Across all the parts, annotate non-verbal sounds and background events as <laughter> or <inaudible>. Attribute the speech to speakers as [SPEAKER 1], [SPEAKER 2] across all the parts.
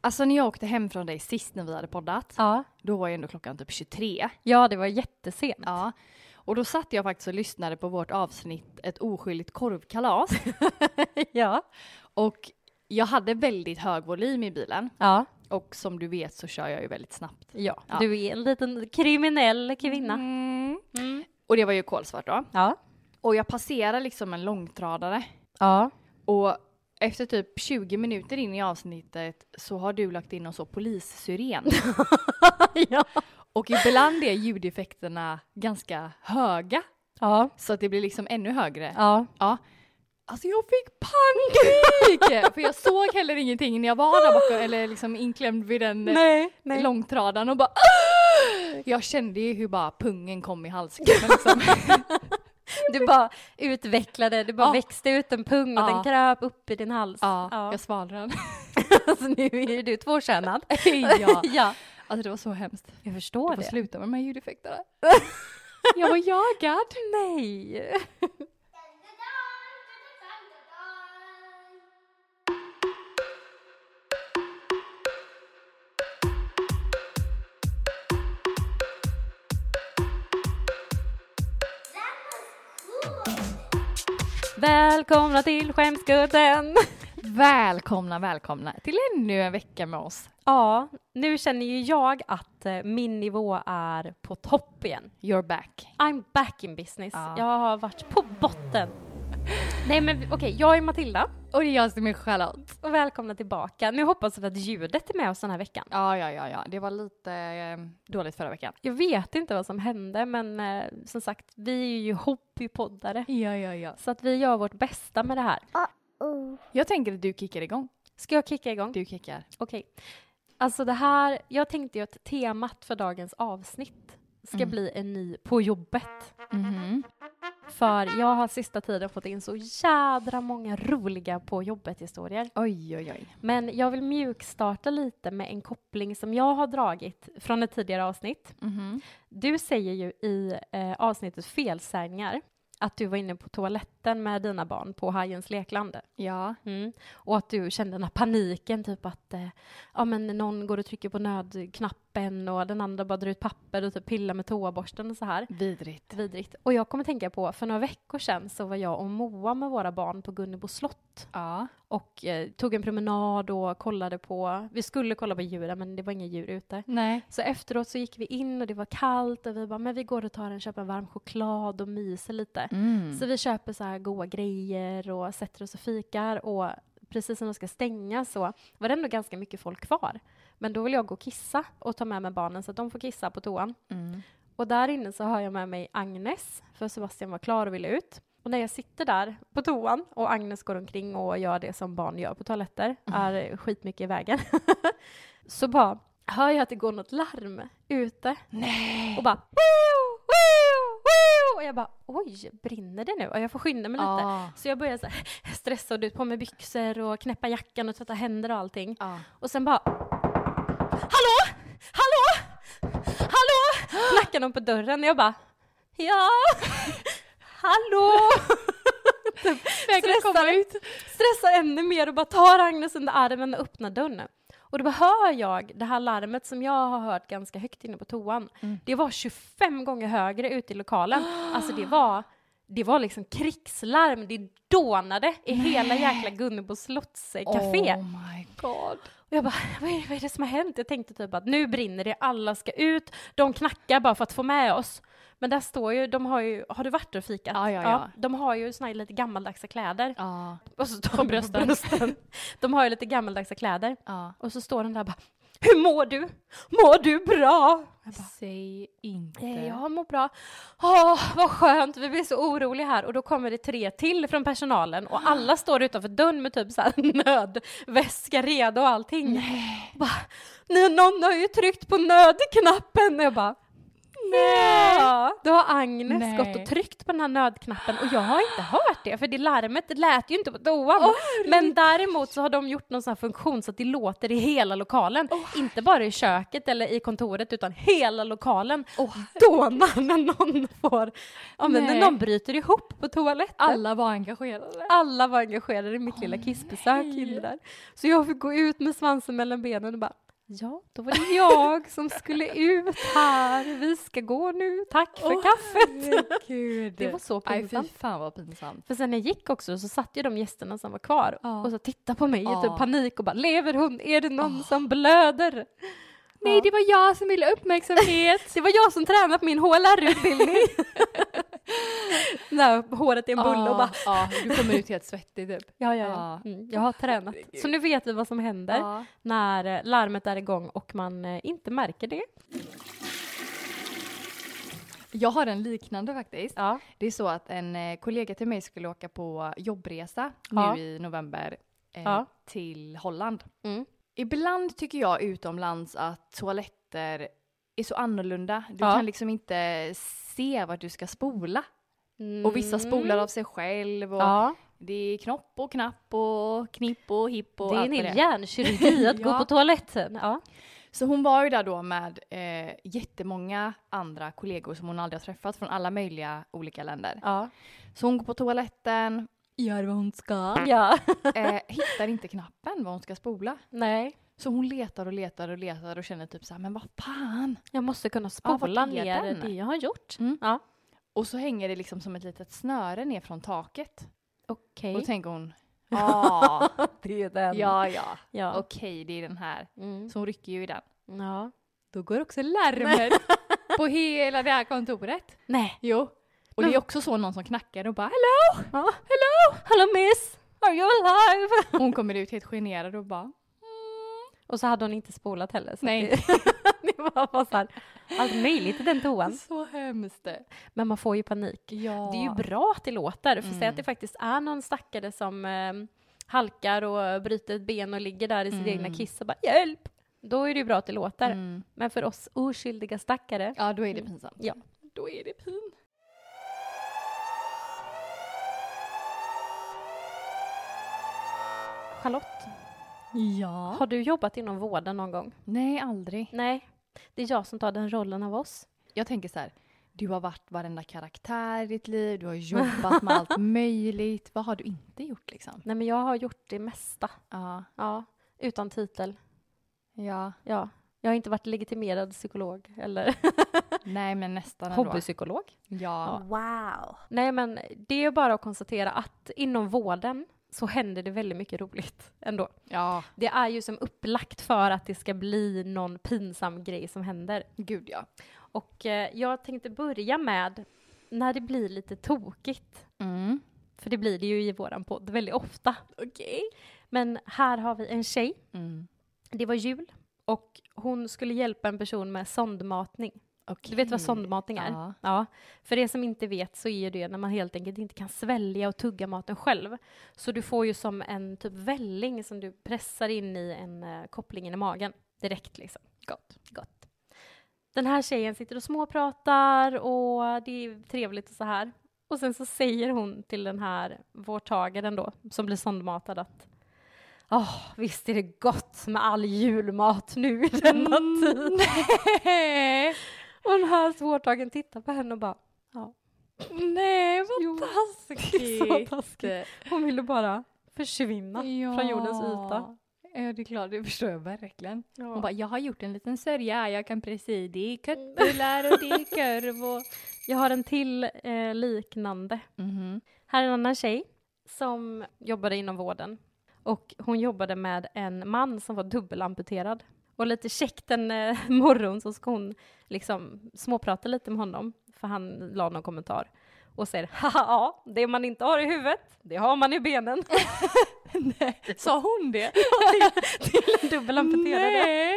[SPEAKER 1] Alltså när jag åkte hem från dig sist när vi hade poddat,
[SPEAKER 2] Ja.
[SPEAKER 1] då var ju ändå klockan typ 23.
[SPEAKER 2] ja, det var jättesent.
[SPEAKER 1] Ja. Och då satt jag faktiskt och lyssnade på vårt avsnitt Ett oskyldigt korvkalas.
[SPEAKER 2] ja.
[SPEAKER 1] och jag hade väldigt hög volym i bilen.
[SPEAKER 2] ja.
[SPEAKER 1] Och som du vet så kör jag ju väldigt snabbt.
[SPEAKER 2] Ja,
[SPEAKER 1] Ja.
[SPEAKER 2] du är en liten kriminell kvinna. Mm.
[SPEAKER 1] Och det var ju kolsvart då.
[SPEAKER 2] Ja.
[SPEAKER 1] Och jag passerar liksom en långtradare. <laughs>
[SPEAKER 2] Ja.
[SPEAKER 1] Och efter typ 20 minuter in i avsnittet så har du lagt in någon så polissyren.
[SPEAKER 2] ja.
[SPEAKER 1] och ibland är ljudeffekterna ganska höga.
[SPEAKER 2] Ja.
[SPEAKER 1] Så att det blir liksom ännu högre.
[SPEAKER 2] Ja.
[SPEAKER 1] Ja. Alltså jag fick <laughs> panik! För jag såg heller ingenting när jag var där bakom, eller liksom inklämd vid den eh,
[SPEAKER 2] Nej.
[SPEAKER 1] långtradaren <gasps> och bara "Åh!" Jag kände ju hur bara pungen kom i halsgropen <laughs> liksom.
[SPEAKER 2] Du bara utvecklade, du bara
[SPEAKER 1] Ja.
[SPEAKER 2] växte ut en pung och
[SPEAKER 1] Ja.
[SPEAKER 2] den kröp upp i din hals.
[SPEAKER 1] Ja,
[SPEAKER 2] <laughs>
[SPEAKER 1] jag svalde den.
[SPEAKER 2] Så nu är ju du tvåkönad.
[SPEAKER 1] <laughs> ja.
[SPEAKER 2] ja.
[SPEAKER 1] Alltså det var så hemskt.
[SPEAKER 2] Jag
[SPEAKER 1] Du
[SPEAKER 2] förstår
[SPEAKER 1] får
[SPEAKER 2] det.
[SPEAKER 1] sluta med de här ljudeffekterna. Jag var jagad.
[SPEAKER 2] Nej. Välkomna till skämskudden!
[SPEAKER 1] Välkomna, välkomna till ännu en vecka med oss.
[SPEAKER 2] Ja, nu känner ju jag att eh, min nivå är på topp igen.
[SPEAKER 1] You're back.
[SPEAKER 2] I'm back in business.
[SPEAKER 1] Ja.
[SPEAKER 2] Jag har varit på botten. Nej men vi- okej, jag är Matilda
[SPEAKER 1] Och det är jag som är Charlotte.
[SPEAKER 2] och välkomna tillbaka. Nu hoppas vi att ljudet är med oss den här veckan.
[SPEAKER 1] Ja, ja, ja, ja. Det var lite eh, dåligt förra veckan.
[SPEAKER 2] Jag vet inte vad som hände men eh, som sagt, vi är ju hobbypoddare.
[SPEAKER 1] Ja, ja, ja.
[SPEAKER 2] Så att vi gör vårt bästa med det här.
[SPEAKER 1] Jag tänker att du kickar igång.
[SPEAKER 2] Ska jag kicka igång?
[SPEAKER 1] Du kickar.
[SPEAKER 2] Okej. Alltså det här, jag tänkte ju att temat för dagens avsnitt ska
[SPEAKER 1] Mm.
[SPEAKER 2] bli en ny på jobbet.
[SPEAKER 1] Mhm.
[SPEAKER 2] För jag har sista tiden fått in så jädra många roliga på jobbet-historier.
[SPEAKER 1] Oj, oj, oj.
[SPEAKER 2] Men jag vill mjukstarta lite med en koppling som jag har dragit från ett tidigare avsnitt.
[SPEAKER 1] Mhm.
[SPEAKER 2] Du säger ju i eh, avsnittet felsägningar att du var inne på toaletten med dina barn på Hajens lekland.
[SPEAKER 1] Ja.
[SPEAKER 2] Mm. Och att du kände den här paniken, typ att eh, ja, men någon går och trycker på nödknappen och den andra bara drar ut papper och typ pillar med toaborsten och så här.
[SPEAKER 1] Vidrigt.
[SPEAKER 2] Vidrigt. Och jag kommer tänka på, för några veckor sedan så var jag och Moa med våra barn på Gunnebo slott
[SPEAKER 1] Ja.
[SPEAKER 2] och eh, tog en promenad och kollade på, vi skulle kolla på djuren men det var inga djur ute.
[SPEAKER 1] Nej.
[SPEAKER 2] Så efteråt så gick vi in och det var kallt och vi bara, men vi går och tar en, köper en varm choklad och myser lite.
[SPEAKER 1] Mm.
[SPEAKER 2] Så vi köper så här goda grejer och sätter oss och fikar och precis när de ska stänga så var det ändå ganska mycket folk kvar. Men då vill jag gå och kissa och ta med mig barnen så att de får kissa på toan.
[SPEAKER 1] Mm.
[SPEAKER 2] Och där inne så har jag med mig Agnes, för Sebastian var klar och ville ut. Och när jag sitter där på toan och Agnes går omkring och gör det som barn gör på toaletter,
[SPEAKER 1] Mm.
[SPEAKER 2] är skitmycket i vägen, <laughs> så bara hör jag att det går något larm ute.
[SPEAKER 1] Nej.
[SPEAKER 2] Och bara "Woo, woo, woo." och jag bara oj, brinner det nu? Och jag får skynda mig lite.
[SPEAKER 1] Ja.
[SPEAKER 2] Så jag börjar så här, <laughs> stressa och du vet, på mig byxor och knäppa jackan och tvätta händer och allting.
[SPEAKER 1] Ja.
[SPEAKER 2] Och sen bara Hallå! Hallå! Hallå! Knackar någon på dörren och jag bara Ja! Hallå!
[SPEAKER 1] Vägrar komma ut.
[SPEAKER 2] Stressar ännu mer och bara tar Agnes under armen och öppnar dörren. Och då bara hör jag det här larmet som jag har hört ganska högt inne på toan. Det var 25 gånger högre ute i lokalen. Alltså det var, det var liksom krigslarm. Det dånade i hela jäkla Gunnebo slotts eh, café.
[SPEAKER 1] Oh my god.
[SPEAKER 2] Och jag bara, <laughs> vad är, vad är det som har hänt? Jag tänkte typ att nu brinner det, alla ska ut, de knackar bara för att få med oss. Men där står ju, de har ju, har du varit där och fikat?
[SPEAKER 1] Ja, ja, ja.
[SPEAKER 2] de har ju såna här lite gammaldagsa kläder.
[SPEAKER 1] Ja.
[SPEAKER 2] Och så står
[SPEAKER 1] På
[SPEAKER 2] de
[SPEAKER 1] brösten.
[SPEAKER 2] <laughs> De har ju lite gammaldagsa kläder.
[SPEAKER 1] Ja.
[SPEAKER 2] Och så står den där bara, hur mår du? Mår du bra?
[SPEAKER 1] Säg inte.
[SPEAKER 2] Eh, Jag mår bra. Åh, vad skönt, vi blir så oroliga här. Och då kommer det tre till från personalen och
[SPEAKER 1] <gasps>
[SPEAKER 2] alla står utanför dörren med typ så här <laughs> nödväska redo och allting. Nej. Bara, "Nu, någon har ju tryckt på nödknappen. Och jag bara,
[SPEAKER 1] Nej.
[SPEAKER 2] Ja, då har Agnes
[SPEAKER 1] Nej.
[SPEAKER 2] gått och tryckt på den här nödknappen och jag har inte hört det för det larmet lät ju inte på toan. Men däremot så har de gjort någon sån här funktion så att det låter i hela lokalen. inte bara i köket eller i kontoret utan hela lokalen.
[SPEAKER 1] Åh,
[SPEAKER 2] Dånar när någon får, ja men när
[SPEAKER 1] Nej.
[SPEAKER 2] någon bryter ihop på toaletten.
[SPEAKER 1] Alla var engagerade.
[SPEAKER 2] Alla var engagerade i mitt lilla kissbesök
[SPEAKER 1] nej.
[SPEAKER 2] in där. Så jag fick gå ut med svansen mellan benen och bara Ja, då var <laughs> det jag som skulle ut här. Vi ska gå nu. Tack för
[SPEAKER 1] Åh,
[SPEAKER 2] kaffet.
[SPEAKER 1] Gud.
[SPEAKER 2] Det var så
[SPEAKER 1] Aj, fy
[SPEAKER 2] pinsamt.
[SPEAKER 1] fan vad pinsamt.
[SPEAKER 2] För sen när jag gick också så satt ju de gästerna som var kvar
[SPEAKER 1] Ja.
[SPEAKER 2] och så tittade på mig i
[SPEAKER 1] Ja.
[SPEAKER 2] typ panik och bara lever hon? Är det någon som blöder?
[SPEAKER 1] Nej, det var jag som ville uppmärksamhet.
[SPEAKER 2] <laughs> Det var jag som tränade på
[SPEAKER 1] <laughs>
[SPEAKER 2] min HLR-utbildning. När håret är en bulle och bara
[SPEAKER 1] Ja, du kommer ut helt svettig typ.
[SPEAKER 2] ja, ja, ja. Mm, jag har tränat. Så nu vet vi vad som händer.
[SPEAKER 1] Ja.
[SPEAKER 2] när eh, larmet är igång och man eh, inte märker det.
[SPEAKER 1] Jag har en liknande faktiskt.
[SPEAKER 2] Ja.
[SPEAKER 1] Det är så att en eh, kollega till mig skulle åka på jobbresa
[SPEAKER 2] Ja.
[SPEAKER 1] nu i november eh,
[SPEAKER 2] Ja.
[SPEAKER 1] till Holland.
[SPEAKER 2] Mm.
[SPEAKER 1] Ibland tycker jag utomlands att toaletter är så annorlunda. Du
[SPEAKER 2] Ja.
[SPEAKER 1] kan liksom inte se vart du ska spola. Och vissa spolar av sig själv och
[SPEAKER 2] Mm. Ja,
[SPEAKER 1] det är knopp och knapp och knipp och hipp och
[SPEAKER 2] det är en
[SPEAKER 1] allt vad
[SPEAKER 2] hel hjärnkirurgi
[SPEAKER 1] <laughs>
[SPEAKER 2] att gå
[SPEAKER 1] Ja.
[SPEAKER 2] på toaletten. Ja.
[SPEAKER 1] Så hon var ju där då med eh, jättemånga andra kollegor som hon aldrig har träffat från alla möjliga olika länder.
[SPEAKER 2] Ja.
[SPEAKER 1] Så hon går på toaletten, gör vad hon ska,
[SPEAKER 2] ja.
[SPEAKER 1] eh, hittar inte knappen vad hon ska spola.
[SPEAKER 2] Nej,
[SPEAKER 1] Så hon letar och letar och letar och känner typ så här, men vad fan?
[SPEAKER 2] jag måste kunna
[SPEAKER 1] Ja,
[SPEAKER 2] spola
[SPEAKER 1] vart är
[SPEAKER 2] ner
[SPEAKER 1] den?
[SPEAKER 2] det jag har gjort.
[SPEAKER 1] Mm.
[SPEAKER 2] Ja.
[SPEAKER 1] Och så hänger det liksom som ett litet snöre ner från taket.
[SPEAKER 2] Okej.
[SPEAKER 1] Och då tänker hon, ja,
[SPEAKER 2] Det är den.
[SPEAKER 1] ja, Ah.
[SPEAKER 2] Ja.
[SPEAKER 1] ja,
[SPEAKER 2] Ja.
[SPEAKER 1] okej, det är den här.
[SPEAKER 2] Mm.
[SPEAKER 1] Så hon rycker ju i den.
[SPEAKER 2] ja.
[SPEAKER 1] Då går också <laughs> larmet på hela det här kontoret.
[SPEAKER 2] Nej.
[SPEAKER 1] Jo. Och det är också så någon som knackar och bara hello!
[SPEAKER 2] Ja. Hello! Hello miss! Are you alive?
[SPEAKER 1] Hon kommer ut helt generad och bara
[SPEAKER 2] Och så hade hon inte spolat heller. Så
[SPEAKER 1] Nej.
[SPEAKER 2] att Det, <laughs> det var bara så här, allt möjligt i den toan.
[SPEAKER 1] Så hemskt.
[SPEAKER 2] Men man får ju panik.
[SPEAKER 1] Ja.
[SPEAKER 2] Det är ju bra att det låter, för säg
[SPEAKER 1] Mm.
[SPEAKER 2] att det faktiskt är någon stackare som eh, halkar och bryter ett ben och ligger där i sitt
[SPEAKER 1] Mm.
[SPEAKER 2] egna kiss och bara “hjälp!” Då är det ju bra att det låter.
[SPEAKER 1] Mm.
[SPEAKER 2] Men för oss oskyldiga stackare,
[SPEAKER 1] Ja, då är det pinsamt.
[SPEAKER 2] Ja.
[SPEAKER 1] Då är det pin.
[SPEAKER 2] Charlotte,
[SPEAKER 1] Ja.
[SPEAKER 2] har du jobbat inom vården någon gång?
[SPEAKER 1] Nej, aldrig.
[SPEAKER 2] Nej, det är jag som tar den rollen av oss.
[SPEAKER 1] Jag tänker så här, du har varit varenda karaktär i ditt liv, du har jobbat med
[SPEAKER 2] <laughs>
[SPEAKER 1] allt möjligt. Vad har du inte gjort liksom?
[SPEAKER 2] Nej, men jag har gjort det mesta.
[SPEAKER 1] Ja.
[SPEAKER 2] Ja, utan titel.
[SPEAKER 1] Ja.
[SPEAKER 2] Ja. Jag har inte varit legitimerad psykolog eller
[SPEAKER 1] Nej, men nästan ändå.
[SPEAKER 2] hobbypsykolog.
[SPEAKER 1] Ja.
[SPEAKER 2] Wow! Nej men det är bara att konstatera att inom vården så händer det väldigt mycket roligt ändå.
[SPEAKER 1] Ja.
[SPEAKER 2] Det är ju som upplagt för att det ska bli någon pinsam grej som händer.
[SPEAKER 1] Gud ja.
[SPEAKER 2] Och eh, jag tänkte börja med när det blir lite tokigt.
[SPEAKER 1] Mm.
[SPEAKER 2] För det blir det ju i våran podd väldigt ofta.
[SPEAKER 1] Okej.
[SPEAKER 2] Men här har vi en tjej.
[SPEAKER 1] Mm.
[SPEAKER 2] Det var jul och hon skulle hjälpa en person med sondmatning. Du vet vad sondmatning är?
[SPEAKER 1] Ja.
[SPEAKER 2] Ja, för er som inte vet så är det när man helt enkelt inte kan svälja och tugga maten själv. Så du får ju som en typ välling som du pressar in i en eh, koppling i magen direkt liksom. Gott. Gott. Den här tjejen sitter och småpratar och det är trevligt och så här. Och sen så säger hon till den här vårdtagaren då, som blir sondmatad att Åh, visst är det gott med all julmat nu i denna tid.
[SPEAKER 1] Nej.
[SPEAKER 2] <laughs> Och den här svårtagen tittar på henne och bara ja.
[SPEAKER 1] Nej, vad
[SPEAKER 2] Jo, <laughs>
[SPEAKER 1] <laughs>
[SPEAKER 2] det är så
[SPEAKER 1] taskigt.
[SPEAKER 2] taskigt. Hon ville bara försvinna från jordens yta.
[SPEAKER 1] Ja, Ja, det är klart. Det förstår jag verkligen.
[SPEAKER 2] Ja.
[SPEAKER 1] Hon bara, jag har gjort en liten sörja. Jag kan precis, det är köttbullar och det är korv och...
[SPEAKER 2] Jag har en till eh, liknande.
[SPEAKER 1] Mhm.
[SPEAKER 2] <laughs> Här är en annan tjej som jobbade inom vården. Och hon jobbade med en man som var dubbelamputerad. Och lite käckt en eh, <laughs> morgon så ska hon liksom småprata lite med honom, för han la någon kommentar. Och säger haha, ja, det man inte har i huvudet, det har man i benen. <laughs>
[SPEAKER 1] <laughs> Sa hon det?
[SPEAKER 2] till en dubbelamputerad.
[SPEAKER 1] Nej!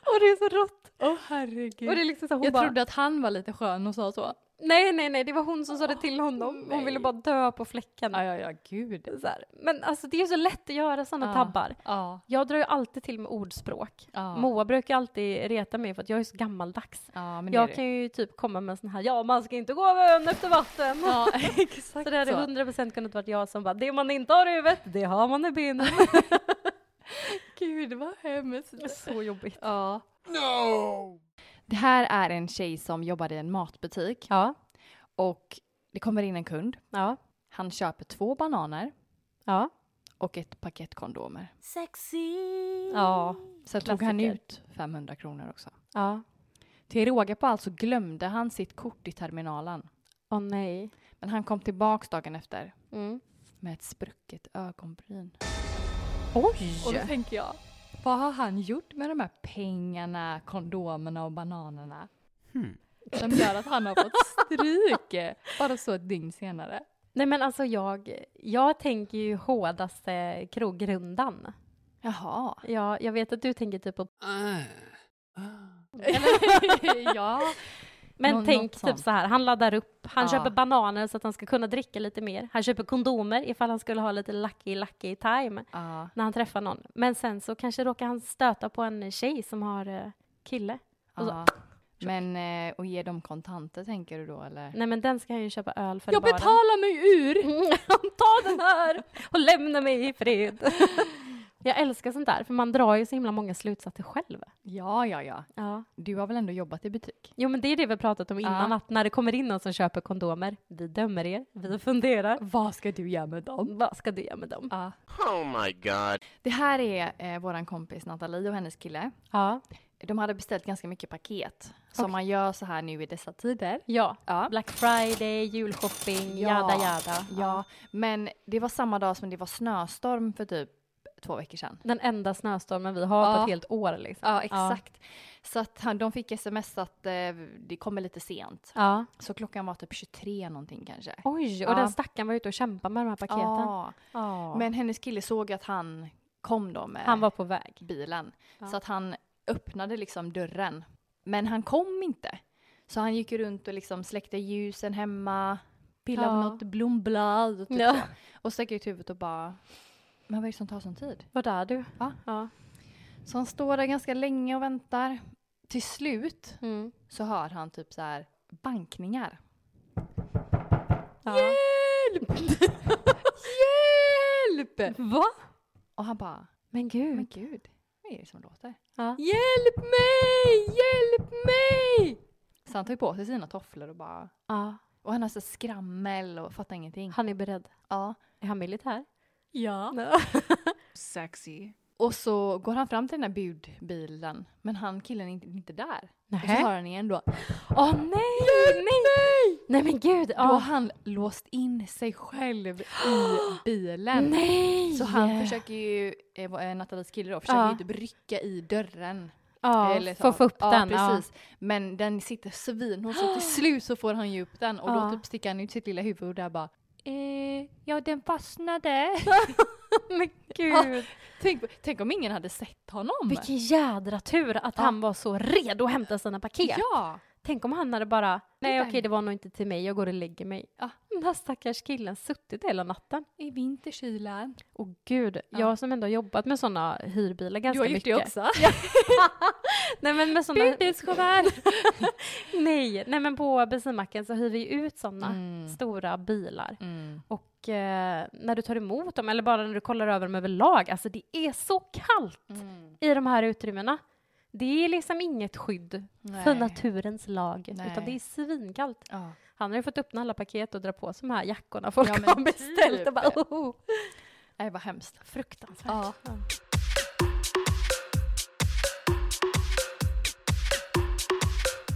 [SPEAKER 2] Och det är så rått.
[SPEAKER 1] Åh oh, herregud.
[SPEAKER 2] Och det är liksom så här, hon
[SPEAKER 1] jag
[SPEAKER 2] bara,
[SPEAKER 1] trodde att han var lite skön och sa så.
[SPEAKER 2] nej nej nej, det var hon som sa det till honom.
[SPEAKER 1] nej.
[SPEAKER 2] Hon ville bara dö på fläcken.
[SPEAKER 1] Ja, ja, ja, gud.
[SPEAKER 2] Så här. Men alltså det är så lätt att göra sådana
[SPEAKER 1] Ja.
[SPEAKER 2] tabbar.
[SPEAKER 1] Ja.
[SPEAKER 2] Jag drar ju alltid till med ordspråk.
[SPEAKER 1] Ja.
[SPEAKER 2] Moa brukar alltid reta mig för att jag är så gammaldags.
[SPEAKER 1] ja, men det är
[SPEAKER 2] Jag
[SPEAKER 1] det.
[SPEAKER 2] kan ju typ komma med en sån här, ja man ska inte gå över ön efter vatten.
[SPEAKER 1] <laughs> Ja, exakt
[SPEAKER 2] Så det hade
[SPEAKER 1] så.
[SPEAKER 2] 100% kunnat vara jag som bara, det man inte har i huvudet, det har man i benen.
[SPEAKER 1] Gud vad hemskt.
[SPEAKER 2] <laughs> så jobbigt.
[SPEAKER 1] Ja. Det här är en tjej som jobbar i en matbutik
[SPEAKER 2] Ja,
[SPEAKER 1] och det kommer in en kund.
[SPEAKER 2] ja,
[SPEAKER 1] Han köper två bananer
[SPEAKER 2] ja.
[SPEAKER 1] och ett paket kondomer.
[SPEAKER 2] Ja,
[SPEAKER 1] Sen tog han
[SPEAKER 2] Klassiker.
[SPEAKER 1] ut 500 kronor också.
[SPEAKER 2] ja.
[SPEAKER 1] Till råga på allt så glömde han sitt kort i terminalen.
[SPEAKER 2] Åh nej.
[SPEAKER 1] Men han kom tillbaks dagen efter
[SPEAKER 2] Mm.
[SPEAKER 1] med ett sprucket ögonbryn. Och då
[SPEAKER 2] Oj!
[SPEAKER 1] tänker jag, vad har han gjort med de här pengarna, kondomerna och bananerna? Hmm. Som gör att han har fått stryk eh, bara så ett dygn senare.
[SPEAKER 2] Nej men alltså jag, jag tänker ju hårdaste krogrundan.
[SPEAKER 1] Jaha.
[SPEAKER 2] Ja, jag vet att du tänker typ på,
[SPEAKER 1] <laughs> ja.
[SPEAKER 2] men
[SPEAKER 1] Nå- något
[SPEAKER 2] tänk typ
[SPEAKER 1] sånt.
[SPEAKER 2] så här, han laddar upp, han
[SPEAKER 1] Ja.
[SPEAKER 2] köper bananer så att han ska kunna dricka lite mer. Han köper kondomer ifall han skulle ha lite lucky lucky time
[SPEAKER 1] Ja.
[SPEAKER 2] när han träffar någon. Men sen så kanske råkar han stöta på en tjej som har eh, kille. Och så-
[SPEAKER 1] ja. Alltså, Men eh, och ge dem kontanter tänker du då eller?
[SPEAKER 2] Nej men den ska han ju köpa öl för i
[SPEAKER 1] Jag
[SPEAKER 2] baren.
[SPEAKER 1] betalar mig ur!
[SPEAKER 2] Mm, <laughs> Ta den här och lämna mig i fred. <laughs> Jag älskar sånt där, för man drar ju så himla många slutsatser själv.
[SPEAKER 1] Ja, ja, ja.
[SPEAKER 2] Ja.
[SPEAKER 1] Du har väl ändå jobbat i butik?
[SPEAKER 2] Jo, men det är det vi har pratat om innan,
[SPEAKER 1] Ja.
[SPEAKER 2] att när det kommer in någon som köper kondomer, vi dömer er, vi funderar.
[SPEAKER 1] Vad ska du göra med dem? <laughs>
[SPEAKER 2] Vad ska du göra med dem?
[SPEAKER 1] Ja.
[SPEAKER 3] Oh my god.
[SPEAKER 1] Det här är eh, vår kompis Nathalie och hennes kille.
[SPEAKER 2] Ja.
[SPEAKER 1] De hade beställt ganska mycket paket som
[SPEAKER 2] Okej.
[SPEAKER 1] man gör så här nu i dessa tider.
[SPEAKER 2] ja.
[SPEAKER 1] Ja.
[SPEAKER 2] Black Friday, julshopping,
[SPEAKER 1] Ja.
[SPEAKER 2] jada jada.
[SPEAKER 1] Ja, men det var samma dag som det var snöstorm för typ två veckor sedan.
[SPEAKER 2] Den enda snöstormen vi har på
[SPEAKER 1] Ja.
[SPEAKER 2] ett helt år liksom.
[SPEAKER 1] Ja, exakt. Så att han, de fick sms att eh, det kommer lite sent.
[SPEAKER 2] Ja.
[SPEAKER 1] Så klockan var typ 23 någonting kanske.
[SPEAKER 2] Oj, och
[SPEAKER 1] Ja.
[SPEAKER 2] den stackaren var ute och kämpade med de här paketen.
[SPEAKER 1] Ja,
[SPEAKER 2] Ja.
[SPEAKER 1] men hennes kille såg att han kom då med
[SPEAKER 2] Han var på väg.
[SPEAKER 1] bilen.
[SPEAKER 2] Ja.
[SPEAKER 1] Så att han öppnade liksom dörren. Men han kom inte. Så han gick runt och liksom släckte ljusen hemma, pillade med
[SPEAKER 2] Ja.
[SPEAKER 1] något blomblad och, typ
[SPEAKER 2] Ja.
[SPEAKER 1] så. och stack ut huvudet och bara men vad är det som tar sån tid?
[SPEAKER 2] Var är du?
[SPEAKER 1] Va?
[SPEAKER 2] Ja.
[SPEAKER 1] Så han står där ganska länge och väntar. Till slut
[SPEAKER 2] Mm.
[SPEAKER 1] så hör han typ så här bankningar.
[SPEAKER 2] ja.
[SPEAKER 1] Hjälp! Hjälp!
[SPEAKER 2] Va?
[SPEAKER 1] Och han bara,
[SPEAKER 2] Men gud.
[SPEAKER 1] men gud, vad är det som låter?
[SPEAKER 2] Ja.
[SPEAKER 1] Hjälp mig! Hjälp mig! Så han tar ju på sig sina tofflor och bara...
[SPEAKER 2] Ja.
[SPEAKER 1] Och han har så skrammel och fattar ingenting.
[SPEAKER 2] Han är beredd.
[SPEAKER 1] Ja.
[SPEAKER 2] Är han militär?
[SPEAKER 1] ja.
[SPEAKER 4] Sexy.
[SPEAKER 1] Och så går han fram till den här budbilen, men han killen är inte, inte där. Och så hör han igen då.
[SPEAKER 2] Åh nej! nej! Nej men gud!
[SPEAKER 1] Då har
[SPEAKER 2] Ja.
[SPEAKER 1] han låst in sig själv
[SPEAKER 2] <gasps>
[SPEAKER 1] i bilen.
[SPEAKER 2] Nej!
[SPEAKER 1] Så han försöker ju, eh, vad- eh, Nathalies kille då, försöker
[SPEAKER 2] Ja.
[SPEAKER 1] ju typ rycka i dörren. Eh,
[SPEAKER 2] ja,
[SPEAKER 1] Eller så.
[SPEAKER 2] för att få upp
[SPEAKER 1] ja,
[SPEAKER 2] den.
[SPEAKER 1] Precis. Men den sitter svinhårt
[SPEAKER 2] <gasps>
[SPEAKER 1] så till slut så får han ju upp den och
[SPEAKER 2] Ja.
[SPEAKER 1] då typ sticker han ut sitt lilla huvud och där bara eh, ja den fastnade.
[SPEAKER 2] Ja. <laughs> Men gud!
[SPEAKER 1] tänk, tänk om ingen hade sett honom.
[SPEAKER 2] Vilken jädra tur att
[SPEAKER 1] Ja.
[SPEAKER 2] han var så redo att hämta sina paket.
[SPEAKER 1] Ja!
[SPEAKER 2] Tänk om han hade bara, nej
[SPEAKER 1] Titta.
[SPEAKER 2] okej det var nog inte till mig, jag går och lägger mig.
[SPEAKER 1] Ja.
[SPEAKER 2] Den här stackars killen suttit hela natten.
[SPEAKER 1] I vinterkylan.
[SPEAKER 2] Åh gud,
[SPEAKER 1] Ja.
[SPEAKER 2] jag som ändå har jobbat med sådana hyrbilar ganska
[SPEAKER 1] Du har gjort
[SPEAKER 2] mycket.
[SPEAKER 1] det också.
[SPEAKER 2] Nej men med såna... <laughs> nej, nej men på bensinmacken så hyr vi ju ut sådana
[SPEAKER 1] Mm.
[SPEAKER 2] stora bilar.
[SPEAKER 1] Mm.
[SPEAKER 2] Och eh, när du tar emot dem, eller bara när du kollar över dem överlag, alltså det är så kallt
[SPEAKER 1] Mm.
[SPEAKER 2] i de här utrymmena. Det är liksom inget skydd
[SPEAKER 1] Nej.
[SPEAKER 2] för naturens lag,
[SPEAKER 1] Nej.
[SPEAKER 2] utan det är svinkallt.
[SPEAKER 1] Ja.
[SPEAKER 2] Han har ju fått öppna alla paket och dra på sig de här jackorna folk
[SPEAKER 1] Ja, men
[SPEAKER 2] har beställt.
[SPEAKER 1] typ.
[SPEAKER 2] Och bara, oh,
[SPEAKER 1] Nej vad hemskt.
[SPEAKER 2] fruktansvärt.
[SPEAKER 1] Ja.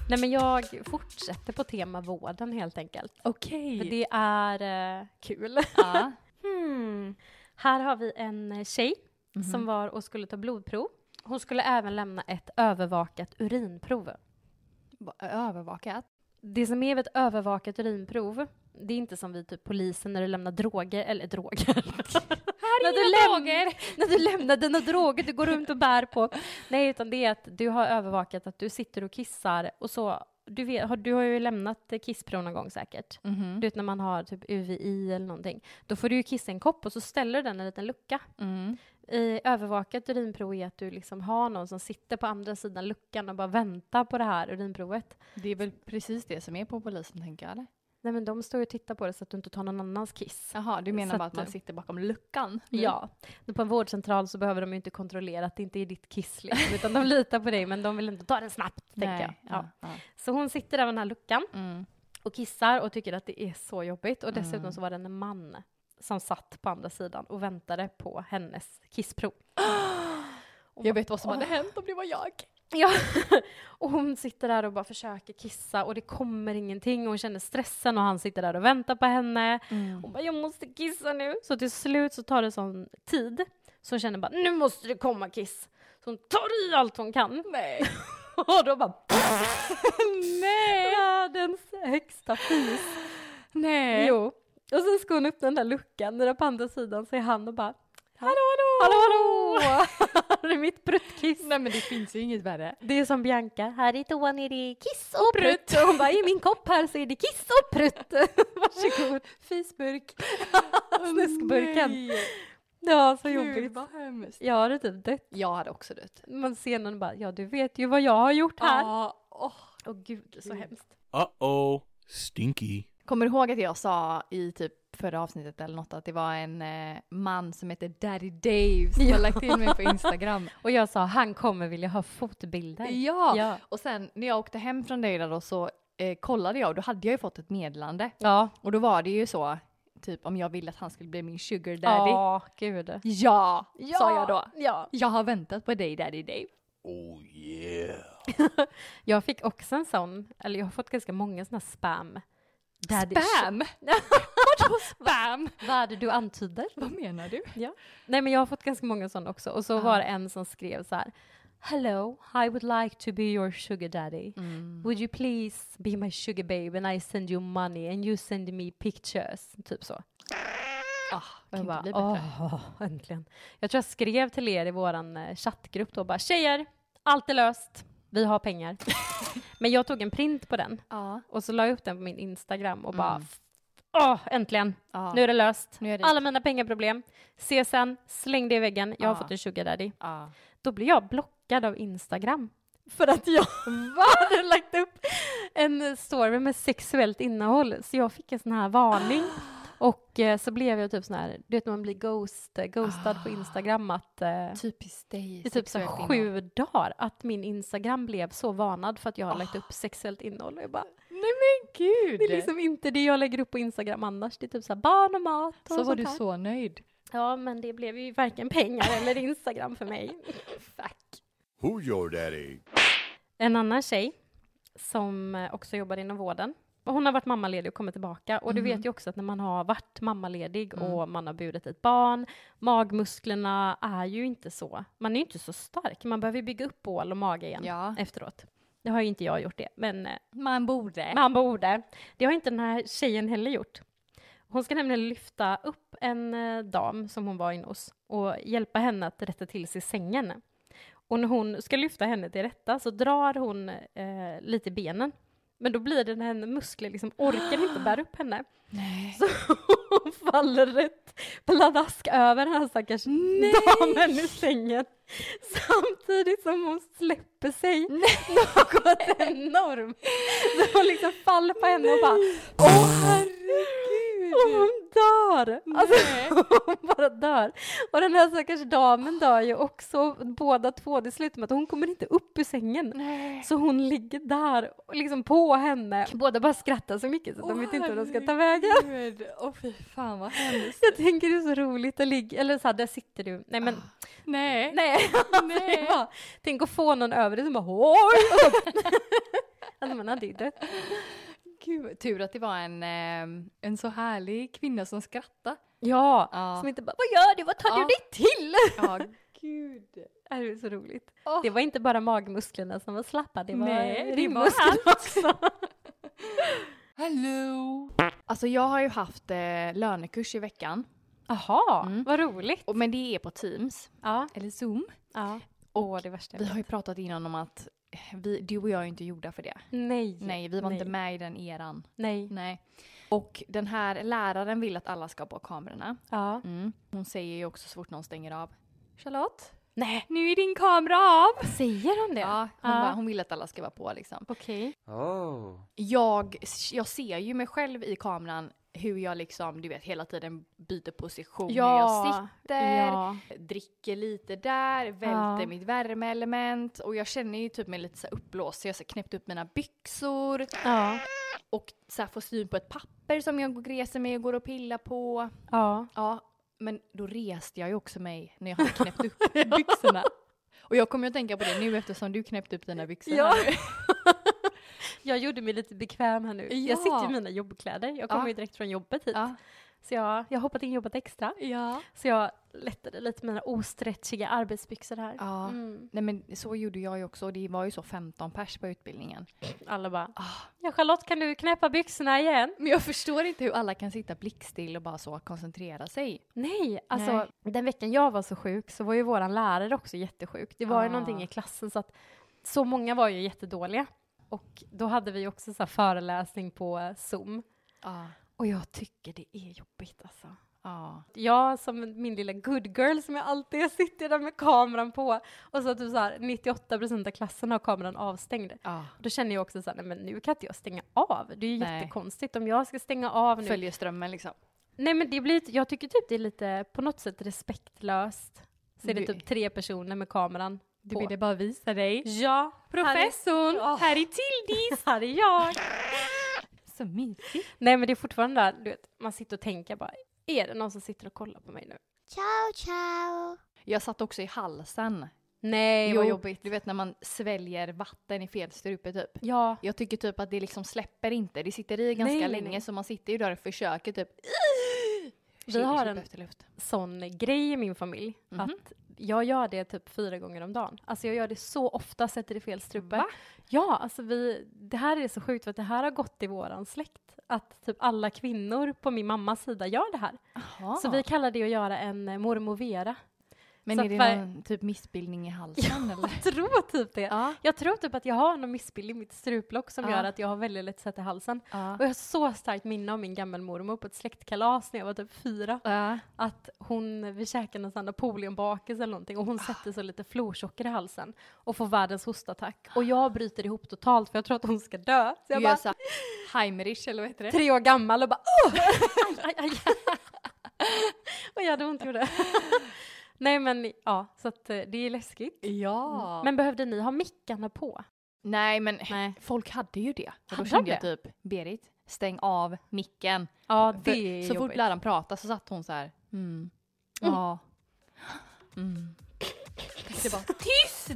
[SPEAKER 2] Nej men jag fortsätter på tema vården helt enkelt.
[SPEAKER 1] Okej.
[SPEAKER 2] <laughs> För det är eh, kul. <laughs>
[SPEAKER 1] Ja.
[SPEAKER 2] Hmm. Här har vi en eh, tjej
[SPEAKER 1] Mhm.
[SPEAKER 2] som var och skulle ta blodprov. Hon skulle även lämna ett övervakat urinprov.
[SPEAKER 1] Va- Övervakat.
[SPEAKER 2] Det som är vid ett övervakat urinprov, det är inte som vid typ polisen när du lämnar droger, eller droger. Här när, du
[SPEAKER 1] Inga
[SPEAKER 2] läm-
[SPEAKER 1] droger!
[SPEAKER 2] <laughs> när du lämnar dina droger du går runt och bär på. Nej, utan det är att du har övervakat att du sitter och kissar och så. Du, vet, har, du har ju lämnat eh, kissprov någon gång säkert.
[SPEAKER 1] Mhm.
[SPEAKER 2] Du vet när man har typ UVI eller någonting. Då får du ju kissa i en kopp och så ställer du den i en liten lucka.
[SPEAKER 1] Mm.
[SPEAKER 2] I övervakat urinprov är att du liksom har någon som sitter på andra sidan luckan och bara väntar på det här urinprovet.
[SPEAKER 1] Det är väl precis det som är på polisen tänker jag eller?
[SPEAKER 2] Nej men de står ju och tittar på det så att du inte tar någon annans kiss.
[SPEAKER 1] Jaha, du menar
[SPEAKER 2] Så
[SPEAKER 1] bara
[SPEAKER 2] att,
[SPEAKER 1] att man
[SPEAKER 2] eh,
[SPEAKER 1] sitter bakom luckan? nu?
[SPEAKER 2] Ja, men på en vårdcentral så behöver de ju inte kontrollera att det inte är ditt kiss liksom, utan de litar på dig men de vill inte ta den snabbt, tänker jag.
[SPEAKER 1] Nej.
[SPEAKER 2] Ja.
[SPEAKER 1] Ja. ja.
[SPEAKER 2] Så hon sitter där vid den här luckan
[SPEAKER 1] Mm.
[SPEAKER 2] och kissar och tycker att det är så jobbigt och dessutom
[SPEAKER 1] Mm.
[SPEAKER 2] så var det en man som satt på andra sidan och väntade på hennes kissprov. Och
[SPEAKER 1] Jag
[SPEAKER 2] bara-
[SPEAKER 1] vet vad som hade hänt om det var jag.
[SPEAKER 2] Ja. <laughs> Och hon sitter där och bara försöker kissa och det kommer ingenting och hon känner stressen och han sitter där och väntar på henne.
[SPEAKER 1] Mm.
[SPEAKER 2] Hon bara, jag måste kissa nu. Så till slut så tar det sån tid så hon känner bara, nu måste det komma kiss. Så hon tar i allt hon kan.
[SPEAKER 1] Nej.
[SPEAKER 2] <laughs> Och då <laughs> bara,
[SPEAKER 1] Nej.
[SPEAKER 2] världens högsta fis.
[SPEAKER 1] Nej.
[SPEAKER 2] Jo. Och sen ska hon öppna den där luckan, där på andra sidan så är han och bara,
[SPEAKER 1] Hallå,
[SPEAKER 2] hallå hallå! <laughs> det är mitt bruttkiss.
[SPEAKER 1] Nej men det finns ju inget värre.
[SPEAKER 2] Det är som Bianca, här i toan är det kiss och prutt. Och hon bara, i min kopp här så är det kiss och
[SPEAKER 1] <laughs>
[SPEAKER 2] prutt. Varsågod.
[SPEAKER 1] Fisburk.
[SPEAKER 2] <laughs> Snuskburken.
[SPEAKER 1] Nej.
[SPEAKER 2] Det var så
[SPEAKER 1] Gud
[SPEAKER 2] jobbigt.
[SPEAKER 1] vad hemskt.
[SPEAKER 2] Jag hade typ dött.
[SPEAKER 1] Jag hade också dött.
[SPEAKER 2] Man ser någon bara, ja du vet ju vad jag har gjort här. Mm.
[SPEAKER 1] Ja, åh.
[SPEAKER 2] Åh gud, så hemskt.
[SPEAKER 3] Uh-oh, stinky.
[SPEAKER 1] Kommer du ihåg att jag sa i typ förra avsnittet eller något att det var en eh, man som heter Daddy Dave som
[SPEAKER 2] Ja.
[SPEAKER 1] har lagt in mig på <laughs> Instagram?
[SPEAKER 2] Och jag sa, han kommer vilja ha fotbilder.
[SPEAKER 1] ja.
[SPEAKER 2] Ja.
[SPEAKER 1] Och sen när jag åkte hem från dig där då så eh, kollade jag och då hade jag ju fått ett meddelande.
[SPEAKER 2] Ja,
[SPEAKER 1] Och då var det ju så, typ om jag ville att han skulle bli min sugar daddy.
[SPEAKER 2] ja gud.
[SPEAKER 1] Ja, sa jag då.
[SPEAKER 2] Ja.
[SPEAKER 1] Jag har väntat på dig daddy Dave.
[SPEAKER 3] Oh yeah.
[SPEAKER 2] Jag fick också en sån, eller jag har fått ganska många såna spam. Daddy-
[SPEAKER 1] Spam! <laughs> Vadå spam?
[SPEAKER 2] Vad är det du antyder?
[SPEAKER 1] Vad menar du?
[SPEAKER 2] Nej men jag har fått ganska många sådana också och så var det en som skrev så här Hello, I would like to be your sugar daddy.
[SPEAKER 1] Mm.
[SPEAKER 2] Would you please be my sugar babe and I send you money and you send me pictures. Typ så.
[SPEAKER 1] Ah,
[SPEAKER 2] Och
[SPEAKER 1] kan
[SPEAKER 2] jag
[SPEAKER 1] inte
[SPEAKER 2] bara,
[SPEAKER 1] bli bättre.
[SPEAKER 2] åh, äntligen. Jag tror jag skrev till er i våran eh, chattgrupp då bara, tjejer, allt är löst, vi
[SPEAKER 1] <laughs>
[SPEAKER 2] har pengar. Men jag tog en print på den
[SPEAKER 1] Ja.
[SPEAKER 2] och så la jag upp den på min Instagram och
[SPEAKER 1] Mm.
[SPEAKER 2] bara, åh, äntligen,
[SPEAKER 1] Ja.
[SPEAKER 2] nu är det löst.
[SPEAKER 1] Nu är det-
[SPEAKER 2] Alla mina pengaproblem, CSN, släng det i väggen, jag har
[SPEAKER 1] Ja.
[SPEAKER 2] fått en sugar daddy.
[SPEAKER 1] Ja.
[SPEAKER 2] Då blir jag blockad
[SPEAKER 1] <laughs>
[SPEAKER 2] av Instagram. För att jag hade lagt upp en story med sexuellt innehåll, så jag fick en sån
[SPEAKER 1] <gasps>
[SPEAKER 2] här varning. Och eh, så blev jag typ sån här, du vet när man blir ghost, eh, ghostad på Instagram att eh,
[SPEAKER 1] Typiskt dig.
[SPEAKER 2] i typ så här
[SPEAKER 1] Ah. sexuellt
[SPEAKER 2] sju
[SPEAKER 1] innehåll.
[SPEAKER 2] dagar, att min Instagram blev så varnad för att jag har lagt
[SPEAKER 1] Ah.
[SPEAKER 2] upp sexuellt innehåll. Och jag bara,
[SPEAKER 1] Nej men gud!
[SPEAKER 2] det är liksom inte det jag lägger upp på Instagram annars, det är typ så här barn och mat och
[SPEAKER 1] så var
[SPEAKER 2] sånt
[SPEAKER 1] du
[SPEAKER 2] här.
[SPEAKER 1] så nöjd.
[SPEAKER 2] Ja, men det blev ju varken pengar eller Instagram för mig. Fuck.
[SPEAKER 3] Who's your daddy?
[SPEAKER 2] En annan tjej som eh, också jobbar inom vården. Och Hon har varit mammaledig och kommit tillbaka. Och du vet ju också att när man har varit mammaledig och man har burit ett barn, magmusklerna är ju inte så. Man är ju inte så stark. Man behöver ju bygga upp bål och mage igen
[SPEAKER 1] Ja.
[SPEAKER 2] efteråt. Det har ju inte jag gjort det, men eh,
[SPEAKER 1] Man borde.
[SPEAKER 2] man borde. Det har inte den här tjejen heller gjort. Hon ska nämligen lyfta upp en eh, dam som hon var inne hos och hjälpa henne att rätta till sig sängen. Och när hon ska lyfta henne till rätta så drar hon eh, lite i benen. Men då blir det när henne muskler liksom orkar inte bära upp henne.
[SPEAKER 1] Nej.
[SPEAKER 2] Så hon faller rätt pladask över den här stackars damen i sängen. Samtidigt som hon släpper sig något enormt. Så hon liksom faller på henne och bara Åh herregud! Och hon dör! Alltså <laughs> hon bara dör. Och den här stackars damen dör ju också. Båda två, det slutar med att hon kommer inte upp ur sängen.
[SPEAKER 1] Nej.
[SPEAKER 2] Så hon ligger där, och liksom på henne. Båda bara skrattar så mycket så att de vet inte hur de ska ta vägen.
[SPEAKER 1] Gud, åh fy fan vad hemskt.
[SPEAKER 2] Jag tänker det är så roligt att ligga, eller så här, där sitter du. Nej men,
[SPEAKER 1] Ah. <laughs> Nej.
[SPEAKER 2] <laughs> nej. alltså,
[SPEAKER 1] Nej.
[SPEAKER 2] Bara, tänk att få någon över dig som bara oj! Och så, <laughs> alltså man hade ju dött.
[SPEAKER 1] Gud, tur att det var en, eh, en så härlig kvinna som skrattade.
[SPEAKER 2] Ja,
[SPEAKER 1] Ja.
[SPEAKER 2] som inte bara vad gör du, vad tar du
[SPEAKER 1] Ja.
[SPEAKER 2] dig till? <laughs>
[SPEAKER 1] <laughs> Ja, gud.
[SPEAKER 2] Det är så roligt.
[SPEAKER 1] Åh.
[SPEAKER 2] Det var inte bara magmusklerna som var slappa, det var
[SPEAKER 1] Nej, det var
[SPEAKER 2] ringmusklerna också.
[SPEAKER 1] <laughs>
[SPEAKER 3] Hello.
[SPEAKER 1] Alltså jag har ju haft eh, lönekurs i veckan.
[SPEAKER 2] Jaha,
[SPEAKER 1] Mm.
[SPEAKER 2] vad roligt.
[SPEAKER 1] Och, men det är på Teams,
[SPEAKER 2] Ja,
[SPEAKER 1] eller Zoom.
[SPEAKER 2] ja. Åh, det värsta jag
[SPEAKER 1] Vi
[SPEAKER 2] vet.
[SPEAKER 1] har ju pratat innan om att eh, vi, du och jag är inte gjorda för det.
[SPEAKER 2] Nej.
[SPEAKER 1] Nej, vi var
[SPEAKER 2] Typ. nej,
[SPEAKER 1] inte med i den eran.
[SPEAKER 2] Nej.
[SPEAKER 1] Nej. Och den här läraren vill att alla ska ha på kamerorna.
[SPEAKER 2] Ja.
[SPEAKER 1] Mm. Hon säger ju också så fort någon stänger av. Charlotte,
[SPEAKER 2] Nej.
[SPEAKER 1] nu är din kamera av!
[SPEAKER 2] Säger hon det?
[SPEAKER 1] Ja, hon,
[SPEAKER 2] Ja.
[SPEAKER 1] Bara, hon vill att alla ska vara på liksom.
[SPEAKER 2] Okej.
[SPEAKER 5] Oh.
[SPEAKER 1] Jag, jag ser ju mig själv i kameran hur jag liksom, du vet, hela tiden byter position, hur jag sitter.
[SPEAKER 2] Ja.
[SPEAKER 1] dricker lite där, välter
[SPEAKER 2] Ja.
[SPEAKER 1] mitt värmeelement och jag känner ju typ mig lite så här uppblåst så jag har så här knäppt upp mina byxor
[SPEAKER 2] Ja.
[SPEAKER 1] och så här får syn på ett papper som jag reser mig och går och pillar på.
[SPEAKER 2] ja.
[SPEAKER 1] Ja, men då reste jag ju också mig när jag hade knäppt upp <laughs> byxorna. Och jag kommer att tänka på det nu eftersom du knäppte upp dina byxor.
[SPEAKER 2] Ja.
[SPEAKER 1] här nu.
[SPEAKER 2] Jag gjorde mig lite bekväm här nu.
[SPEAKER 1] Ja.
[SPEAKER 2] Jag sitter i mina jobbkläder. Jag kommer
[SPEAKER 1] Ja.
[SPEAKER 2] ju direkt från jobbet hit.
[SPEAKER 1] Ja.
[SPEAKER 2] Så jag, jag har hoppat in jobbet extra.
[SPEAKER 1] <laughs> ja.
[SPEAKER 2] Så jag lättade lite mina ostretchiga arbetsbyxor här.
[SPEAKER 1] Ja.
[SPEAKER 2] Mm.
[SPEAKER 1] Nej men så gjorde jag ju också och det var ju så 15 pers på utbildningen.
[SPEAKER 2] Alla bara, ja Charlotte kan du knäppa byxorna igen?
[SPEAKER 1] Men jag förstår inte hur alla kan sitta blickstill och bara så koncentrera sig.
[SPEAKER 2] Nej, alltså
[SPEAKER 1] Nej.
[SPEAKER 2] den veckan jag var så sjuk så var ju våran lärare också jättesjuk. Det var ju
[SPEAKER 1] Ah.
[SPEAKER 2] någonting i klassen så att så många var ju jättedåliga. Och då hade vi också så här föreläsning på eh, Zoom.
[SPEAKER 1] Ja.
[SPEAKER 2] Och jag tycker det är jobbigt alltså.
[SPEAKER 1] Ja.
[SPEAKER 2] Jag som min lilla good girl som jag alltid <laughs> är, sitter där med kameran på och så att typ så här 98% av klassen har kameran avstängd.
[SPEAKER 1] ja.
[SPEAKER 2] Då känner jag också så här, nej men nu kan inte jag stänga av. Det är ju
[SPEAKER 1] Nej.
[SPEAKER 2] jättekonstigt om jag ska stänga av nu.
[SPEAKER 1] Följer strömmen liksom.
[SPEAKER 2] Nej men det blir, jag tycker typ det är lite på något sätt respektlöst. Så är det
[SPEAKER 1] Du-
[SPEAKER 2] typ tre personer med kameran
[SPEAKER 1] Du
[SPEAKER 2] på.
[SPEAKER 1] ville bara visa dig.
[SPEAKER 2] Ja,
[SPEAKER 1] Professorn,
[SPEAKER 2] här är,
[SPEAKER 1] här
[SPEAKER 2] är Tildis! <laughs> här är jag!
[SPEAKER 1] Så mysigt.
[SPEAKER 2] Nej men det är fortfarande där, du vet, man sitter och tänker bara, är det någon som sitter och kollar på mig nu?
[SPEAKER 1] Jag satt också i halsen.
[SPEAKER 2] Nej,
[SPEAKER 1] jo,
[SPEAKER 2] vad jobbigt.
[SPEAKER 1] Du vet när man sväljer vatten i fel strupe typ.
[SPEAKER 2] Ja,
[SPEAKER 1] Jag tycker typ att det liksom släpper inte. Det sitter i ganska
[SPEAKER 2] Nej, nej,
[SPEAKER 1] länge
[SPEAKER 2] nej.
[SPEAKER 1] så man sitter ju där och försöker typ.
[SPEAKER 2] vi har
[SPEAKER 1] Supa
[SPEAKER 2] en
[SPEAKER 1] efter luft.
[SPEAKER 2] sån grej i min familj
[SPEAKER 1] Mhm.
[SPEAKER 2] att jag gör det typ fyra gånger om dagen. Alltså jag gör det så ofta, sätter i fel strupe.
[SPEAKER 1] Va?
[SPEAKER 2] Ja, alltså vi, det här är så sjukt för att det här har gått i våran släkt. Att typ alla kvinnor på min mammas sida gör det här. Så vi kallar det att göra en eh, mormor Vera.
[SPEAKER 1] Men
[SPEAKER 2] så
[SPEAKER 1] är det
[SPEAKER 2] att-
[SPEAKER 1] någon typ missbildning i halsen eller?
[SPEAKER 2] <laughs> Jag tror typ det.
[SPEAKER 1] <laughs>
[SPEAKER 2] Ah.
[SPEAKER 1] Ja.
[SPEAKER 2] Jag tror typ att jag har någon missbild i mitt struplock som
[SPEAKER 1] Ja.
[SPEAKER 2] gör att jag har väldigt lätt sätt i halsen.
[SPEAKER 1] Ja.
[SPEAKER 2] Och jag har så starkt minne av min gammelmormor på ett släktkalas när jag var typ fyra.
[SPEAKER 1] Ja.
[SPEAKER 2] att hon, vi käkade någon sån där napoleonbakelse eller någonting och
[SPEAKER 1] Ah.
[SPEAKER 2] hon sätter så lite florsocker i halsen och får världens hostattack. Och jag bryter ihop totalt för jag tror att hon ska dö. Så
[SPEAKER 1] Du
[SPEAKER 2] jag
[SPEAKER 1] gör
[SPEAKER 2] bara,
[SPEAKER 1] såhär Heimerich eller vad heter det?
[SPEAKER 2] tre år gammal och bara
[SPEAKER 1] <laughs>
[SPEAKER 2] åh! Aj, aj, aj. och jag hade ont gjorde.
[SPEAKER 1] <laughs>
[SPEAKER 2] Nej men ja, så att eh, det är läskigt.
[SPEAKER 1] Ja. Men,
[SPEAKER 2] Men behövde ni ha mickarna på?
[SPEAKER 1] nej Mm. men
[SPEAKER 2] Nej.
[SPEAKER 1] folk hade ju det. Och då
[SPEAKER 2] Hade
[SPEAKER 1] kände
[SPEAKER 2] de
[SPEAKER 1] jag typ Berit, stäng av micken.
[SPEAKER 2] Ja,
[SPEAKER 1] För
[SPEAKER 2] det är
[SPEAKER 1] så fort
[SPEAKER 2] jobbigt.
[SPEAKER 1] läraren pratade så satt hon så här. Mm. Ja. Mm. Det bara, Tyst!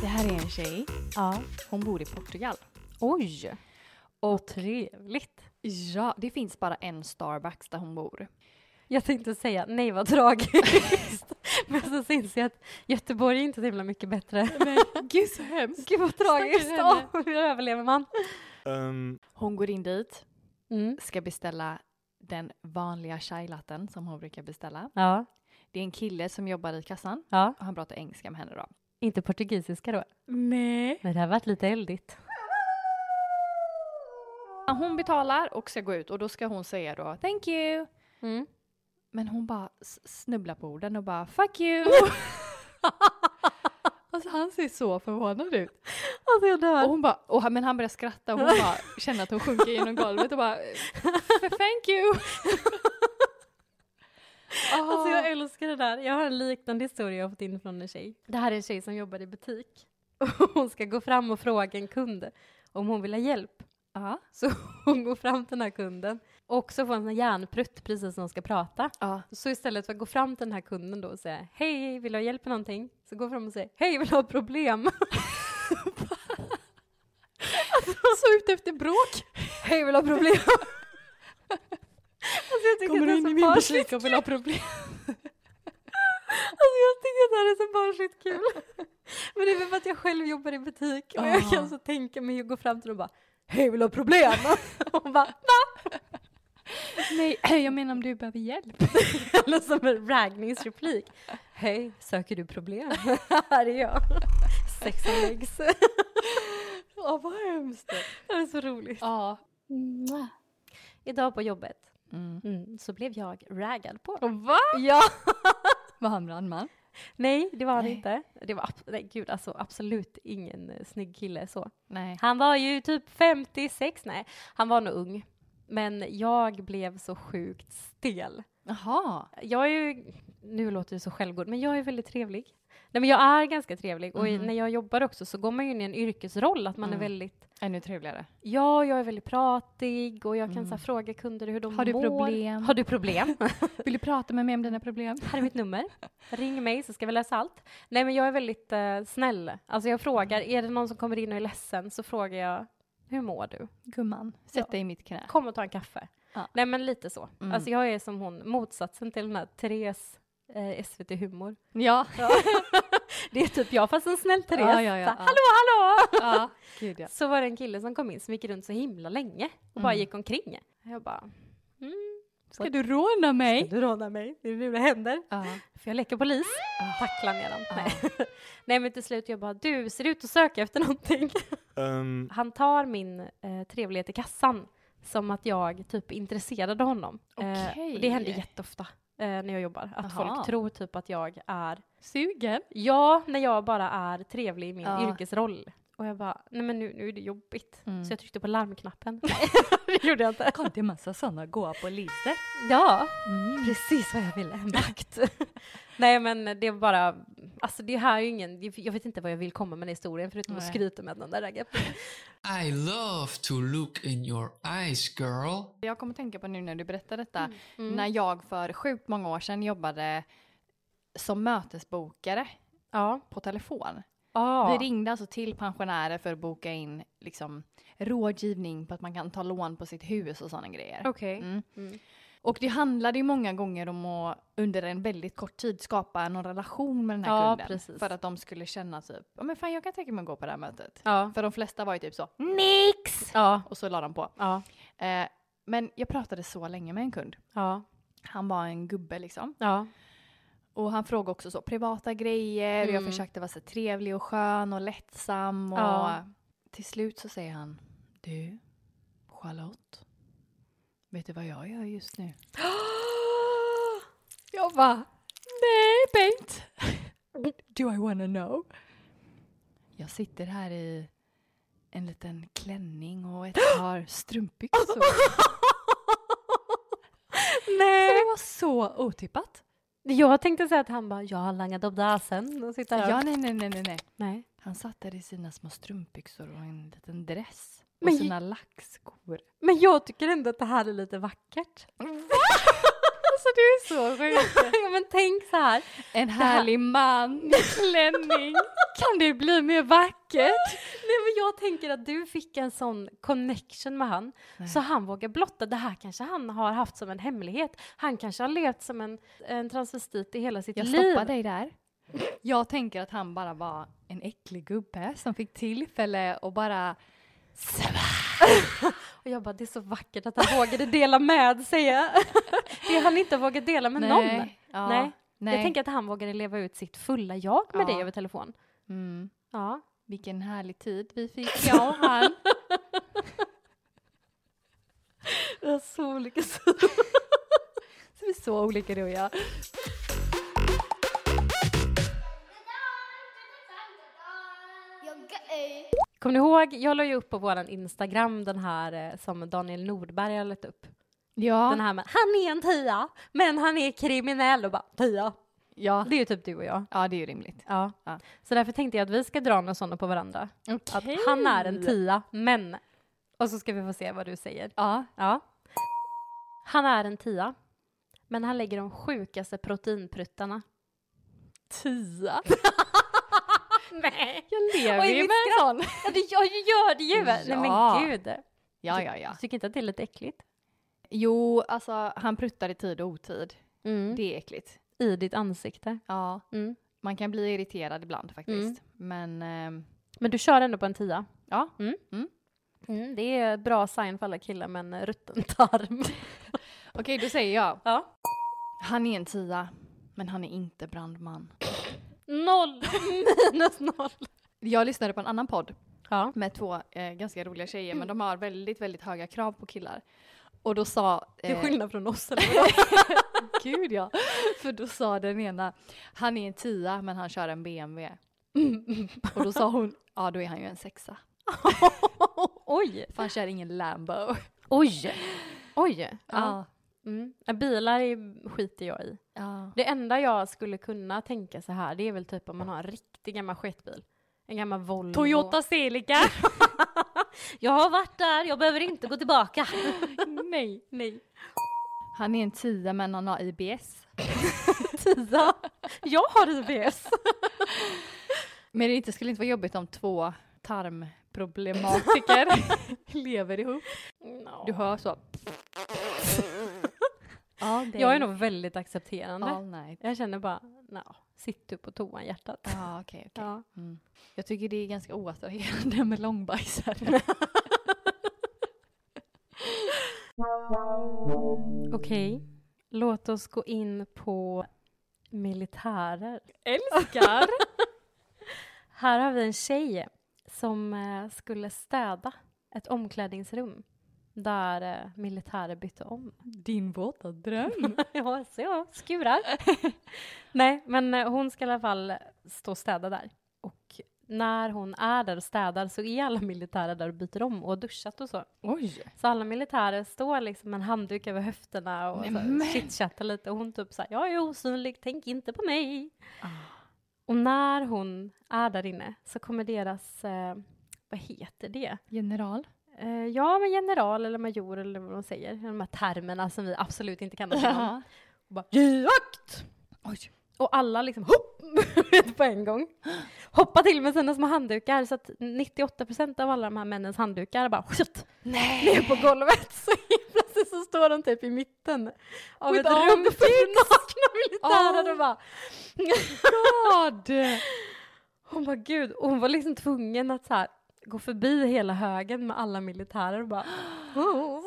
[SPEAKER 1] Det här är en tjej.
[SPEAKER 2] Ja.
[SPEAKER 1] Hon bor i Portugal.
[SPEAKER 2] Oj! Och trevligt.
[SPEAKER 1] Ja, det finns bara en Starbucks där hon bor.
[SPEAKER 2] Jag tänkte säga nej vad tragiskt. <laughs> Men så syns jag att Göteborg är inte så himla mycket bättre.
[SPEAKER 1] Gud så hemskt.
[SPEAKER 2] Gud vad tragiskt.
[SPEAKER 1] Stackars henne.
[SPEAKER 2] Åh, hur överlever man? Mm.
[SPEAKER 5] Um.
[SPEAKER 1] Hon går in dit, ska beställa den vanliga chai latten som hon brukar beställa.
[SPEAKER 2] Ja,
[SPEAKER 1] Det är en kille som jobbar i kassan
[SPEAKER 2] ja.
[SPEAKER 1] och han pratar engelska med henne då.
[SPEAKER 2] Inte portugisiska då.
[SPEAKER 1] Nej.
[SPEAKER 2] Men det har varit lite eldigt.
[SPEAKER 1] Hon betalar och ska gå ut och då ska hon säga då “thank you”
[SPEAKER 2] Mm.
[SPEAKER 1] men hon bara s- snubblar på orden och bara “fuck you”. <laughs> alltså han ser så förvånad ut.
[SPEAKER 2] Alltså jag
[SPEAKER 1] Och
[SPEAKER 2] dör.
[SPEAKER 1] hon bara, och, han- men han börjar skratta och hon <laughs> bara känner att hon sjunker genom golvet och bara “thank <laughs> you”.
[SPEAKER 2] Alltså jag älskar det där. Jag har en liknande historia jag har fått in från en tjej. Det här är en tjej som jobbar i butik. <laughs> Och hon ska gå fram och fråga en kund om hon vill ha hjälp.
[SPEAKER 1] Ja.
[SPEAKER 2] Så hon går fram till den här kunden och så får hon en sån här järnprutt precis när hon ska prata.
[SPEAKER 1] Ja.
[SPEAKER 2] Så istället för att gå fram till den här kunden då och säga hej, vill du ha hjälp med någonting? Så går hon fram och säger hej, vill du ha ett problem?
[SPEAKER 1] Så ute efter bråk.
[SPEAKER 2] <laughs> hej, vill du ha problem? <laughs> alltså jag tycker
[SPEAKER 1] Kommer
[SPEAKER 2] att det
[SPEAKER 1] du
[SPEAKER 2] är
[SPEAKER 1] in
[SPEAKER 2] så
[SPEAKER 1] i min
[SPEAKER 2] barnsligt.
[SPEAKER 1] butik
[SPEAKER 2] <laughs>
[SPEAKER 1] och vill ha problem?
[SPEAKER 2] Alltså jag tycker att det här är så barnsligt kul. <laughs> Men det är väl för att jag själv jobbar i butik och jag kan så tänka mig att gå fram till dem och bara Ah. Hej vill du ha problem? <laughs> och hon bara
[SPEAKER 1] <laughs> Nej, <clears throat> jag menar om du behöver hjälp.
[SPEAKER 2] Eller som en raggningsreplik. Hej, söker du <laughs> problem? Här är jag. <laughs> Sex and legs.
[SPEAKER 1] Ja, vad hemskt.
[SPEAKER 2] Det är så roligt.
[SPEAKER 1] Ja.
[SPEAKER 2] Idag på jobbet
[SPEAKER 1] Mm.
[SPEAKER 2] mm, så blev jag raggad på.
[SPEAKER 1] Va? <laughs>
[SPEAKER 2] Ja.
[SPEAKER 1] Var han brandman?
[SPEAKER 2] Nej, det var han
[SPEAKER 1] Nej.
[SPEAKER 2] inte. Det var ab- nej, gud, alltså, absolut ingen eh, snygg kille så.
[SPEAKER 1] Nej.
[SPEAKER 2] Han var ju typ 56, nej, han var nog ung. Men jag blev så sjukt stel.
[SPEAKER 1] Jaha.
[SPEAKER 2] Jag är ju, nu låter det så självgod, men jag är väldigt trevlig. Nej, men jag är ganska trevlig och i- när jag jobbar också så går man ju in i en yrkesroll att man är väldigt,
[SPEAKER 1] Ännu trevligare.
[SPEAKER 2] ja, jag är väldigt pratig och jag kan så här, fråga kunder hur de
[SPEAKER 1] Har du
[SPEAKER 2] mår.
[SPEAKER 1] problem?
[SPEAKER 2] Mm. Har du problem?
[SPEAKER 1] Vill du prata med mig om dina problem?
[SPEAKER 2] Här är mitt nummer. Ring mig så ska vi lösa allt. Nej, men jag är väldigt eh, snäll. Alltså jag frågar,
[SPEAKER 1] Mm.
[SPEAKER 2] är det någon som kommer in och är ledsen så frågar jag, hur mår du?
[SPEAKER 1] Gumman, sätt dig i mitt knä.
[SPEAKER 2] Kom och ta en kaffe.
[SPEAKER 1] Ja.
[SPEAKER 2] Nej, men lite så.
[SPEAKER 1] Mm.
[SPEAKER 2] Alltså jag är som hon, motsatsen till den här Therese eh, SVT Humor.
[SPEAKER 1] <laughs> Ja.
[SPEAKER 2] <laughs> Det är typ jag fast en snäll Therese.
[SPEAKER 1] Ja, ja, ja,
[SPEAKER 2] Så,
[SPEAKER 1] ja.
[SPEAKER 2] Hallå, hallå!
[SPEAKER 1] ja. Gud ja.
[SPEAKER 2] Så var det en kille som kom in som gick runt så himla länge och bara
[SPEAKER 1] Mm.
[SPEAKER 2] gick omkring. Jag bara, mm,
[SPEAKER 1] Ska du råna
[SPEAKER 2] ska
[SPEAKER 1] mig?
[SPEAKER 2] du råna mig? Det är nu det händer.
[SPEAKER 1] Ja.
[SPEAKER 2] För jag leker polis. Tackla ner den. Nej. Nej men till slut jag bara, du ser ut att söka efter någonting. <laughs>
[SPEAKER 5] Um.
[SPEAKER 2] Han tar min eh, trevlighet i kassan som att jag typ intresserade honom. Eh,
[SPEAKER 1] Okej.
[SPEAKER 2] och det händer jätteofta eh, när jag jobbar. Att
[SPEAKER 1] Aha.
[SPEAKER 2] folk tror typ att jag är,
[SPEAKER 1] Sugen?
[SPEAKER 2] ja när jag bara är trevlig i min
[SPEAKER 1] Ja.
[SPEAKER 2] yrkesroll. Och jag bara, nej men nu, nu är det jobbigt.
[SPEAKER 1] Mm.
[SPEAKER 2] Så jag tryckte
[SPEAKER 1] <laughs>
[SPEAKER 2] på larmknappen. <laughs> det gjorde jag inte.
[SPEAKER 1] Kom till massa sådana goa poliser.
[SPEAKER 2] Ja,
[SPEAKER 1] Mm.
[SPEAKER 2] precis vad jag ville. En vakt. <laughs> Nej men det är bara, alltså det här är ju ingen, jag vet inte vad jag vill komma med den historien förutom att
[SPEAKER 1] Nej.
[SPEAKER 2] skryta med den där raggaren.
[SPEAKER 6] I love to look in your eyes, girl.
[SPEAKER 1] Jag kommer tänka på nu när du berättar detta,
[SPEAKER 2] Mm.
[SPEAKER 1] när jag för sjukt många år sedan jobbade som mötesbokare
[SPEAKER 2] Ja.
[SPEAKER 1] på telefon.
[SPEAKER 2] ja.
[SPEAKER 1] Vi ringde alltså till pensionärer för att boka in liksom, rådgivning på att man kan ta lån på sitt hus och sådana grejer.
[SPEAKER 2] Okej.
[SPEAKER 1] Mm.
[SPEAKER 2] Mm.
[SPEAKER 1] Och det handlade ju många gånger om att under en väldigt kort tid skapa någon relation med den här
[SPEAKER 2] Ja,
[SPEAKER 1] kunden.
[SPEAKER 2] precis.
[SPEAKER 1] För att de skulle känna typ, ja men fan jag kan tänka mig att gå på det här mötet.
[SPEAKER 2] Ja.
[SPEAKER 1] För de flesta var ju typ så, nix!
[SPEAKER 2] Ja.
[SPEAKER 1] Och så la de på.
[SPEAKER 2] Ja.
[SPEAKER 1] Eh, men jag pratade så länge med en kund.
[SPEAKER 2] Ja.
[SPEAKER 1] Han var en gubbe liksom.
[SPEAKER 2] Ja.
[SPEAKER 1] Och han frågade också så privata grejer och jag
[SPEAKER 2] Mm.
[SPEAKER 1] försökte vara så trevlig och skön och lättsam och
[SPEAKER 2] Ja.
[SPEAKER 1] till slut så säger han Du, Charlotte, vet du vad jag gör just nu? <gasps> jag bara <laughs> Nej Bengt, <laughs> do I wanna know? Jag sitter här i en liten klänning och ett par strumpbyxor.
[SPEAKER 2] Nej.
[SPEAKER 1] det var så otippat.
[SPEAKER 2] Jag tänkte säga att han bara, jag har langat upp dasen och sitter här.
[SPEAKER 1] Ja, nej, nej, nej, nej, nej.
[SPEAKER 2] Nej.
[SPEAKER 1] Han satt där i sina små strumpbyxor och en liten dress.
[SPEAKER 2] Men
[SPEAKER 1] och
[SPEAKER 2] ju-
[SPEAKER 1] sina lackskor.
[SPEAKER 2] Men jag tycker ändå att det här är
[SPEAKER 1] <laughs>
[SPEAKER 2] lite vackert.
[SPEAKER 1] Alltså du är så sjuk.
[SPEAKER 2] ja men tänk så här.
[SPEAKER 1] <laughs> En härlig man i <laughs> klänning. Kan det bli mer vackert?
[SPEAKER 2] <laughs> Nej men jag tänker att du fick en sån connection med han så han vågar blotta det här kanske han har haft som en hemlighet. Han kanske har levt som en, en transvestit i hela sitt
[SPEAKER 1] Jag
[SPEAKER 2] liv.
[SPEAKER 1] stoppar dig där. Jag tänker att han bara var en äcklig gubbe som fick tillfälle och bara
[SPEAKER 2] Och jag bara det är så vackert att han vågade dela med sig. <laughs> det han inte vågat dela med någon.
[SPEAKER 1] Ja,
[SPEAKER 2] Nej.
[SPEAKER 1] nej.
[SPEAKER 2] Jag tänker att han vågade leva ut sitt fulla jag med
[SPEAKER 1] Ja.
[SPEAKER 2] dig över telefon.
[SPEAKER 1] mm.
[SPEAKER 2] Ja.
[SPEAKER 1] Vilken härlig tid vi <laughs> fick, jag och han.
[SPEAKER 2] Jag har så olika <laughs>
[SPEAKER 1] Så vi är så olika du och jag.
[SPEAKER 7] You're gay.
[SPEAKER 2] Kommer ni ihåg, jag la ju upp på våran Instagram den här eh, som Daniel Nordberg har lagt upp. Den
[SPEAKER 1] Ja,
[SPEAKER 2] här med han är en tia, men han är kriminell och bara tia.
[SPEAKER 1] ja.
[SPEAKER 2] Det är ju typ du och jag.
[SPEAKER 1] ja det är ju rimligt.
[SPEAKER 2] Ja.
[SPEAKER 1] Ja.
[SPEAKER 2] Så därför tänkte jag att vi ska dra några sådana på varandra. Att
[SPEAKER 1] Okej.
[SPEAKER 2] han är en tia, men. Och så ska vi få se vad du säger.
[SPEAKER 1] Ja.
[SPEAKER 2] Ja. Han är en tia, men han lägger de sjukaste proteinpruttarna.
[SPEAKER 1] Tia.
[SPEAKER 2] Nej!
[SPEAKER 1] Jag
[SPEAKER 2] Oj,
[SPEAKER 1] lever ju
[SPEAKER 2] mitt
[SPEAKER 1] med en sån.
[SPEAKER 2] Ja, det, jag gör det ju! Nej
[SPEAKER 1] Ja.
[SPEAKER 2] men gud.
[SPEAKER 1] Ja, ja, ja.
[SPEAKER 2] Du tycker inte att det är lite äckligt?
[SPEAKER 1] Jo, alltså han pruttar i tid och otid.
[SPEAKER 2] Mm.
[SPEAKER 1] Det är äckligt.
[SPEAKER 2] I ditt ansikte.
[SPEAKER 1] Ja.
[SPEAKER 2] Mm.
[SPEAKER 1] Man kan bli irriterad ibland faktiskt. Men ehm,
[SPEAKER 2] Men du kör ändå på en tia?
[SPEAKER 1] ja,
[SPEAKER 2] Mm, det är bra sign för alla killar med en rutten tarm.
[SPEAKER 1] okej då säger jag.
[SPEAKER 2] Ja.
[SPEAKER 1] Han är en tia, men han är inte brandman.
[SPEAKER 2] Noll! <laughs> Minus noll.
[SPEAKER 1] Jag lyssnade på en annan podd
[SPEAKER 2] Ja.
[SPEAKER 1] med två eh, ganska roliga tjejer, men
[SPEAKER 2] Mm.
[SPEAKER 1] de har väldigt, väldigt höga krav på killar. Och då sa...
[SPEAKER 2] Det är
[SPEAKER 1] eh,
[SPEAKER 2] skillnad från oss eller vadå?
[SPEAKER 1] <laughs> Gud ja. För då sa den ena, han är en tia men han kör en BMW.
[SPEAKER 2] Mm.
[SPEAKER 1] Och då sa hon, ja då är han ju en sexa.
[SPEAKER 2] <laughs> Oj!
[SPEAKER 1] För han kör ingen Lambo.
[SPEAKER 2] Oj! Oj! Ja.
[SPEAKER 1] Ja.
[SPEAKER 2] Mm. Bilar är, skiter jag i.
[SPEAKER 1] ja.
[SPEAKER 2] Det enda jag skulle kunna tänka så här, det är väl typ om man har en riktig gammal sketbil. En gammal Volvo.
[SPEAKER 1] Celica.
[SPEAKER 2] <laughs> Jag har varit där, jag behöver inte gå tillbaka. <laughs> nej, nej.
[SPEAKER 1] Han är en tia men han har IBS.
[SPEAKER 2] Tia, jag har IBS.
[SPEAKER 1] Men det inte- skulle inte vara jobbigt om två <laughs> tarmproblematiker lever ihop. Du hör <laughs> så. All day,
[SPEAKER 2] Jag är nog väldigt accepterande.
[SPEAKER 1] all night.
[SPEAKER 2] Jag känner bara, no, sitt du på toan hjärtat.
[SPEAKER 1] Ja, okej, okej.
[SPEAKER 2] Ja.
[SPEAKER 1] Mm. Jag tycker det är ganska oattraherande med långbajsare.
[SPEAKER 2] Okej, låt oss gå in på militärer. Älskar! <laughs> Här har vi en tjej som eh, skulle städa ett omklädningsrum där eh, militärer bytte om.
[SPEAKER 1] <laughs> Din våta dröm.
[SPEAKER 2] <laughs> Ja, så skurar. <laughs> Nej, men eh, hon ska i alla fall stå och städa där. Och när hon är där och städar så är alla militärer där och byter om och har duschat och så.
[SPEAKER 1] Oj.
[SPEAKER 2] Så alla militärer står liksom med en handduk över höfterna och
[SPEAKER 1] Nej,
[SPEAKER 2] så här
[SPEAKER 1] men.
[SPEAKER 2] chitchattar lite och hon typ såhär, jag är osynlig, tänk inte på mig.
[SPEAKER 1] Ah.
[SPEAKER 2] Och när hon är där inne så kommer deras, eh, vad heter det?
[SPEAKER 1] <laughs> General.
[SPEAKER 2] Eh, ja, men general eller major eller vad de säger, de här termerna som vi absolut inte kan någonting om. Och bara, jakt!
[SPEAKER 1] Oj.
[SPEAKER 2] Och alla liksom hopp! <laughs> vet, på en gång. Hoppa till med sina små handdukar så att 98% av alla de här männens handdukar bara skjut, ner
[SPEAKER 1] Nej!
[SPEAKER 2] på golvet. <laughs> Så helt plötsligt så står de typ i mitten av
[SPEAKER 1] With
[SPEAKER 2] ett
[SPEAKER 1] all
[SPEAKER 2] rum
[SPEAKER 1] the
[SPEAKER 2] för nakna militärer
[SPEAKER 1] Oh.
[SPEAKER 2] och bara
[SPEAKER 1] God!
[SPEAKER 2] <laughs> Hon bara gud, och hon var liksom tvungen att så här gå förbi hela högen med alla militärer
[SPEAKER 1] <gasps>
[SPEAKER 2] och bara "Oh."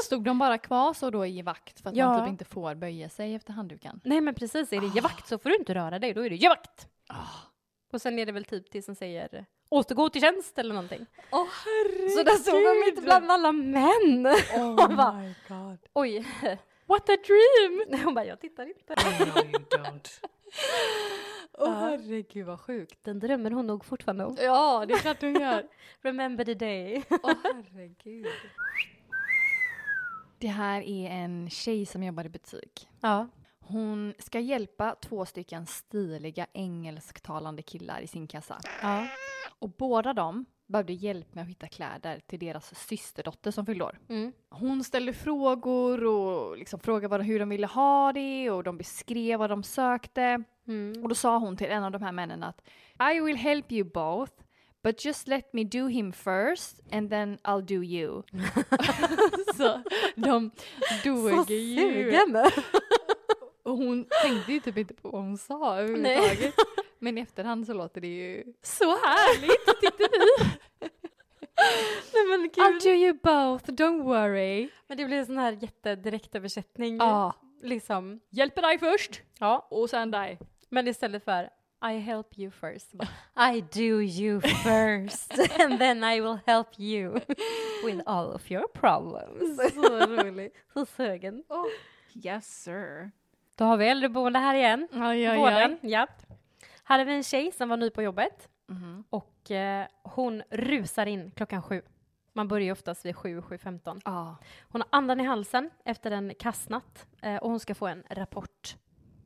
[SPEAKER 1] Stod de bara kvar så då i vakt för att man
[SPEAKER 2] Ja.
[SPEAKER 1] typ inte får böja sig efter handduken?
[SPEAKER 2] Nej men precis,
[SPEAKER 1] Ah.
[SPEAKER 2] är det jakt så får du inte röra dig, då är det jakt. Och sen är det väl typ det som säger återgå till tjänst eller någonting.
[SPEAKER 1] Åh oh, herregud!
[SPEAKER 2] Så där stod de mitt bland alla män.
[SPEAKER 1] Oh
[SPEAKER 2] <laughs> Och bara-
[SPEAKER 1] my god.
[SPEAKER 2] Oj. <laughs> What a dream! Hon bara, jag tittar inte.
[SPEAKER 6] No, you don't.
[SPEAKER 1] Åh herregud vad sjukt.
[SPEAKER 2] Den drömmer hon nog fortfarande om.
[SPEAKER 1] Ja, det är klart hon gör.
[SPEAKER 2] Remember
[SPEAKER 1] <laughs>
[SPEAKER 2] the day.
[SPEAKER 1] Åh herregud. Det här är en tjej som jobbar i butik.
[SPEAKER 2] Ja.
[SPEAKER 1] Hon ska hjälpa två stycken stiliga engelsktalande killar i sin kassa.
[SPEAKER 2] ja.
[SPEAKER 1] Och båda dem behövde hjälp med att hitta kläder till deras systerdotter som fyllde år.
[SPEAKER 2] Mm.
[SPEAKER 1] Hon ställde frågor och liksom frågade vad, hur de ville ha det och de beskrev vad de sökte. Och då sa hon till en av de här männen att I will help you both but just let me do him first and then I'll do you. <laughs> så de
[SPEAKER 2] Så
[SPEAKER 1] dog ju.
[SPEAKER 2] sugen!
[SPEAKER 1] <laughs> Och hon tänkte ju typ inte på vad hon sa överhuvudtaget. <laughs> Men i efterhand så låter det ju
[SPEAKER 2] Så
[SPEAKER 1] <laughs>
[SPEAKER 2] härligt tyckte vi! Nej men
[SPEAKER 1] I'll do
[SPEAKER 2] gud.
[SPEAKER 1] you both, don't worry.
[SPEAKER 2] Men det blev en sån här jättedirektöversättning.
[SPEAKER 1] Ja.
[SPEAKER 2] Liksom.
[SPEAKER 1] Hjälper dig först
[SPEAKER 2] Ja.
[SPEAKER 1] och sen dig.
[SPEAKER 2] Men istället för I help you
[SPEAKER 1] <laughs>
[SPEAKER 2] first. bara, I do <laughs> you first and then I will help you with all of your problems. Så rolig. <laughs> Så sugen.
[SPEAKER 4] Yes, sir.
[SPEAKER 2] Då har vi äldreboende här igen.
[SPEAKER 1] Aj,
[SPEAKER 2] Vården, ja. Här är vi en tjej som var ny på jobbet och eh, hon rusar in klockan sju. Man börjar ju oftast vid sju, 7.15.
[SPEAKER 1] Ja.
[SPEAKER 2] Hon har andan i halsen efter en kastnatt eh, och hon ska få en rapport.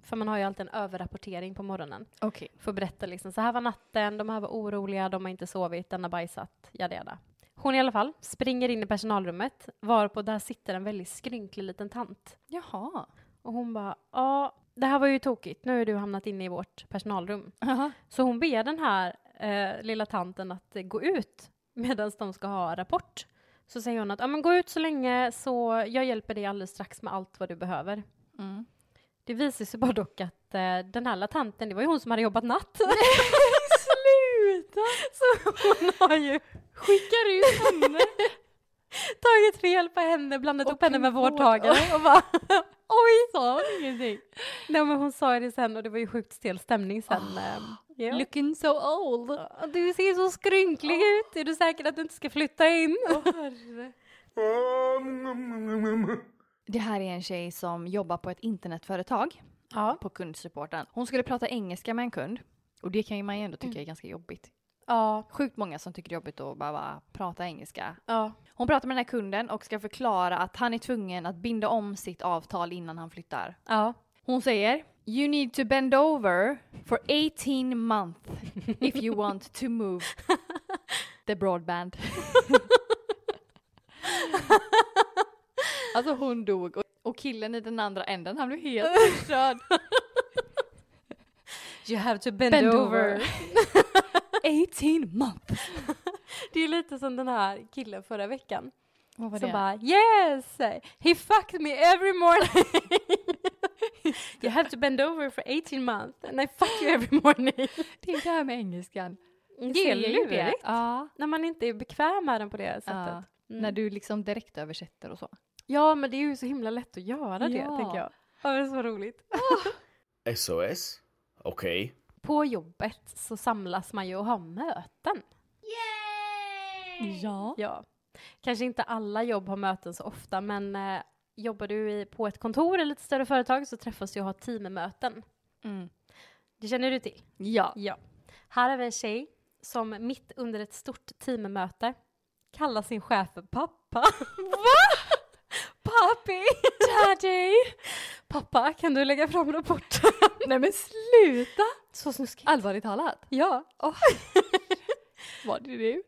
[SPEAKER 2] För man har ju alltid en överrapportering på morgonen.
[SPEAKER 1] Okej.
[SPEAKER 2] Får berätta liksom, så här var natten, de här var oroliga, de har inte sovit, den har bajsat, jada jada. Hon i alla fall springer in i personalrummet varpå där sitter en väldigt skrynklig liten tant.
[SPEAKER 1] Jaha.
[SPEAKER 2] Och hon bara, ja, det här var ju tokigt, nu har du hamnat inne i vårt personalrum. Så hon ber den här eh, lilla tanten att eh, gå ut medan de ska ha rapport. Så säger hon att, ja men gå ut så länge så jag hjälper dig alldeles strax med allt vad du behöver.
[SPEAKER 1] Mm.
[SPEAKER 2] Det visar sig bara dock att eh, den här latanten, det var ju hon som hade jobbat natt. <laughs>
[SPEAKER 1] Sluta!
[SPEAKER 2] Så hon har ju
[SPEAKER 1] Skickar ut henne.
[SPEAKER 2] tagit fel på henne, blandat
[SPEAKER 1] Och
[SPEAKER 2] upp henne med
[SPEAKER 1] en vård-
[SPEAKER 2] vårdtagare och bara oj! Sa hon ingenting? Nej men hon sa ju det sen och det var ju sjukt stel stämning sen. ehm, ja.
[SPEAKER 1] Looking so old.
[SPEAKER 2] Du ser så skrynklig ut, är du säker att du inte ska flytta in?
[SPEAKER 1] Det här är en tjej som jobbar på ett internetföretag
[SPEAKER 2] ja.
[SPEAKER 1] på kundsupporten. Hon skulle prata engelska med en kund och det kan ju man ju ändå tycka är ganska jobbigt.
[SPEAKER 2] ja,
[SPEAKER 1] Sjukt många som tycker det är jobbigt att bara, bara prata engelska.
[SPEAKER 2] ja,
[SPEAKER 1] Hon pratar med den här kunden och ska förklara att han är tvungen att binda om sitt avtal innan han flyttar.
[SPEAKER 2] <laughs> ja.
[SPEAKER 1] Hon säger You need to bend over for 18 months if you want to <laughs> move the <laughs> broadband. alltså hon dog och, och killen i den andra änden han blev <laughs> helt förstörd.
[SPEAKER 2] You have to bend,
[SPEAKER 1] Bend
[SPEAKER 2] over. <laughs>
[SPEAKER 1] over. 18 months.
[SPEAKER 2] Det är lite som den här killen förra veckan
[SPEAKER 1] Vad
[SPEAKER 2] som bara yes, he fucked me every morning. <laughs> you have to bend over for 18 months and I fuck you every morning.
[SPEAKER 1] det är det här med engelskan.
[SPEAKER 2] Jag
[SPEAKER 1] Mm, Det är
[SPEAKER 2] säger ju det.
[SPEAKER 1] lurigt. Ja.
[SPEAKER 2] När man inte är bekväm med den på det sättet.
[SPEAKER 1] Ja.
[SPEAKER 2] Mm.
[SPEAKER 1] När du liksom direkt översätter och så.
[SPEAKER 2] Ja, men det är ju så himla lätt att göra det,
[SPEAKER 1] Ja.
[SPEAKER 2] tänker jag. Ja, det är så roligt.
[SPEAKER 8] SOS? Okej.
[SPEAKER 2] På jobbet så samlas man ju och har möten.
[SPEAKER 7] Yay!
[SPEAKER 1] Ja.
[SPEAKER 2] Ja. Kanske inte alla jobb har möten så ofta, men eh, jobbar du i, på ett kontor eller ett större företag så träffas du och har teammöten.
[SPEAKER 1] Mm.
[SPEAKER 2] Det känner du till?
[SPEAKER 1] Ja.
[SPEAKER 2] Ja. Här har vi en tjej som mitt under ett stort teammöte kallar sin chef för pappa. <laughs> Va? Pappi! Daddy! Pappa, kan du lägga fram rapporten?
[SPEAKER 1] Nej men sluta!
[SPEAKER 2] Så snuskigt.
[SPEAKER 1] Allvarligt talat.
[SPEAKER 2] Ja. Oh.
[SPEAKER 1] Var det du?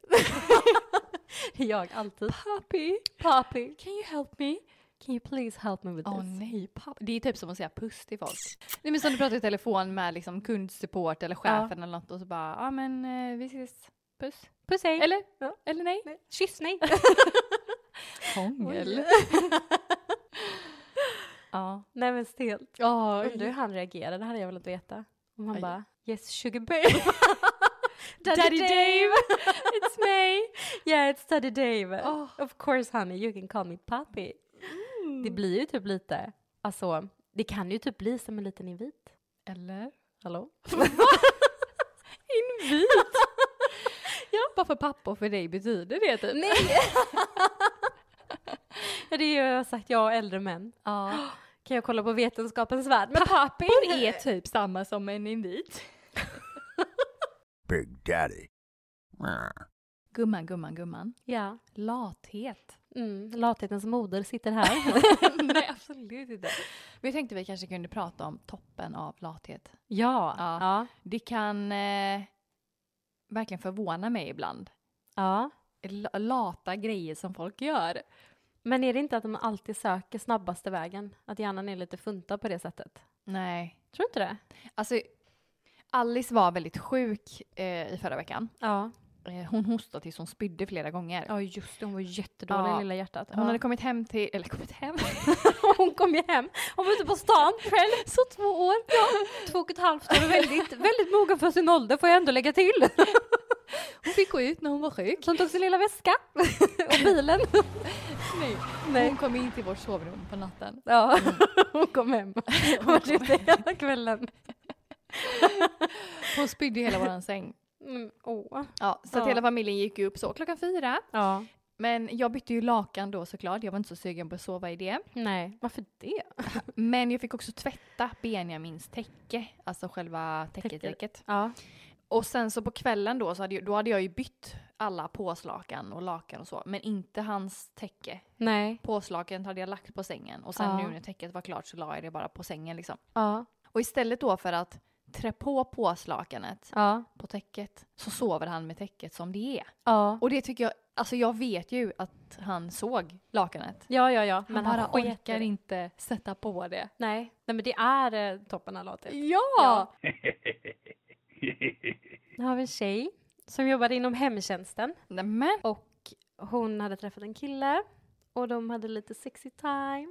[SPEAKER 2] Jag alltid.
[SPEAKER 1] Happy?
[SPEAKER 2] Papi,
[SPEAKER 1] Can you help me?
[SPEAKER 2] can you please help me with
[SPEAKER 1] Åh
[SPEAKER 2] this?
[SPEAKER 1] nej, pappa. Det är typ som att säga puss till folk. Nej men som du pratar i telefon med liksom kundsupport eller chefen eller något och så bara, ja ah, men eh, vi ses, puss.
[SPEAKER 2] Puss hej.
[SPEAKER 1] Eller?
[SPEAKER 2] Ja.
[SPEAKER 1] Eller nej?
[SPEAKER 2] Kyss nej.
[SPEAKER 1] <laughs> Hångel. ja.
[SPEAKER 2] <laughs> nej men stelt.
[SPEAKER 1] Ja,
[SPEAKER 2] Undrar hur han reagerade, det hade jag velat veta. Om han
[SPEAKER 1] Oj.
[SPEAKER 2] bara yes sugar babe. <laughs> daddy,
[SPEAKER 1] Daddy
[SPEAKER 2] Dave. <laughs> it's me. Yeah it's daddy Dave.
[SPEAKER 1] Åh.
[SPEAKER 2] Of course honey you can call me papi. Det blir ju typ lite, alltså det kan ju typ bli som en liten invit.
[SPEAKER 1] Eller?
[SPEAKER 2] Hallå?
[SPEAKER 1] <laughs> Invit! ja. Bara för pappa och för dig betyder det typ.
[SPEAKER 2] Nej! ja, det är ju sagt jag och äldre män.
[SPEAKER 1] Ja.
[SPEAKER 2] Kan jag kolla på Vetenskapens värld med papi?
[SPEAKER 1] Pappor är typ samma som en invit.
[SPEAKER 3] Big Daddy.
[SPEAKER 1] Gumman, gumman, gumman.
[SPEAKER 2] Ja.
[SPEAKER 1] <laughs> Lathet.
[SPEAKER 2] Mm, lathetens moder sitter <laughs> här.
[SPEAKER 1] Nej, absolut inte. Men jag tänkte vi kanske kunde prata om toppen av lathet.
[SPEAKER 2] ja.
[SPEAKER 1] Ja.
[SPEAKER 2] Ja.
[SPEAKER 1] Det kan eh, verkligen förvåna mig ibland.
[SPEAKER 2] ja.
[SPEAKER 1] L- lata grejer som folk gör.
[SPEAKER 2] Men är det inte att de alltid söker snabbaste vägen? Att hjärnan är lite funtad på det sättet?
[SPEAKER 1] Nej.
[SPEAKER 2] Tror du inte det?
[SPEAKER 1] Alltså, Alice var väldigt sjuk eh, i förra veckan.
[SPEAKER 2] Ja.
[SPEAKER 1] Eh, hon hostade tills hon spydde flera gånger.
[SPEAKER 2] Ja, just det. Hon var jättedålig,
[SPEAKER 1] Ja.
[SPEAKER 2] lilla hjärtat.
[SPEAKER 1] Hon hade kommit hem till, eller kommit <laughs> hem,
[SPEAKER 2] hon kom <laughs> ju hem. Hon var ute på stan själv. Så två år. Ja. Två och ett halvt år. <laughs> Väldigt, väldigt mogen för sin ålder får jag ändå lägga till.
[SPEAKER 1] hon fick gå ut när hon var sjuk.
[SPEAKER 2] Så hon tog sin lilla väska och <laughs> bilen.
[SPEAKER 1] Nej.
[SPEAKER 2] Nej.
[SPEAKER 1] Hon kom in till vårt sovrum på <laughs> natten.
[SPEAKER 2] Ja, Mm. hon kom hem. <laughs> Hon var ute hela kvällen.
[SPEAKER 1] Hon spydde i hela våran säng.
[SPEAKER 2] Mm, åh.
[SPEAKER 1] Ja, så att
[SPEAKER 2] Ja.
[SPEAKER 1] hela familjen gick ju upp så klockan fyra.
[SPEAKER 2] Ja.
[SPEAKER 1] Men jag bytte ju lakan då såklart, jag var inte så sugen på att sova i det.
[SPEAKER 2] Nej, varför det?
[SPEAKER 1] Men jag fick också tvätta Benjamins täcke, alltså själva täcketäcket.
[SPEAKER 2] Ja.
[SPEAKER 1] Och sen så på kvällen då, så hade, ju- då hade jag ju bytt alla påslakan och lakan och så, men inte hans täcke.
[SPEAKER 2] Nej.
[SPEAKER 1] Påslakan hade jag lagt på sängen och sen
[SPEAKER 2] Ja.
[SPEAKER 1] nu när täcket var klart så la jag det bara på sängen liksom.
[SPEAKER 2] Ja.
[SPEAKER 1] Och istället då för att trä på påslakanet
[SPEAKER 2] Ja.
[SPEAKER 1] på täcket så sover han med täcket som det är.
[SPEAKER 2] Ja.
[SPEAKER 1] Och det tycker jag, alltså jag vet ju att han såg lakanet.
[SPEAKER 2] Ja, ja, ja.
[SPEAKER 1] Han bara
[SPEAKER 2] sket i
[SPEAKER 1] orkar
[SPEAKER 2] det.
[SPEAKER 1] inte sätta på det.
[SPEAKER 2] Nej. Nej, men det är eh, toppen av låten.
[SPEAKER 1] Ja!
[SPEAKER 2] Nu har vi en tjej som jobbade inom hemtjänsten
[SPEAKER 1] Nämen!
[SPEAKER 2] och hon hade träffat en kille och de hade lite sexy time.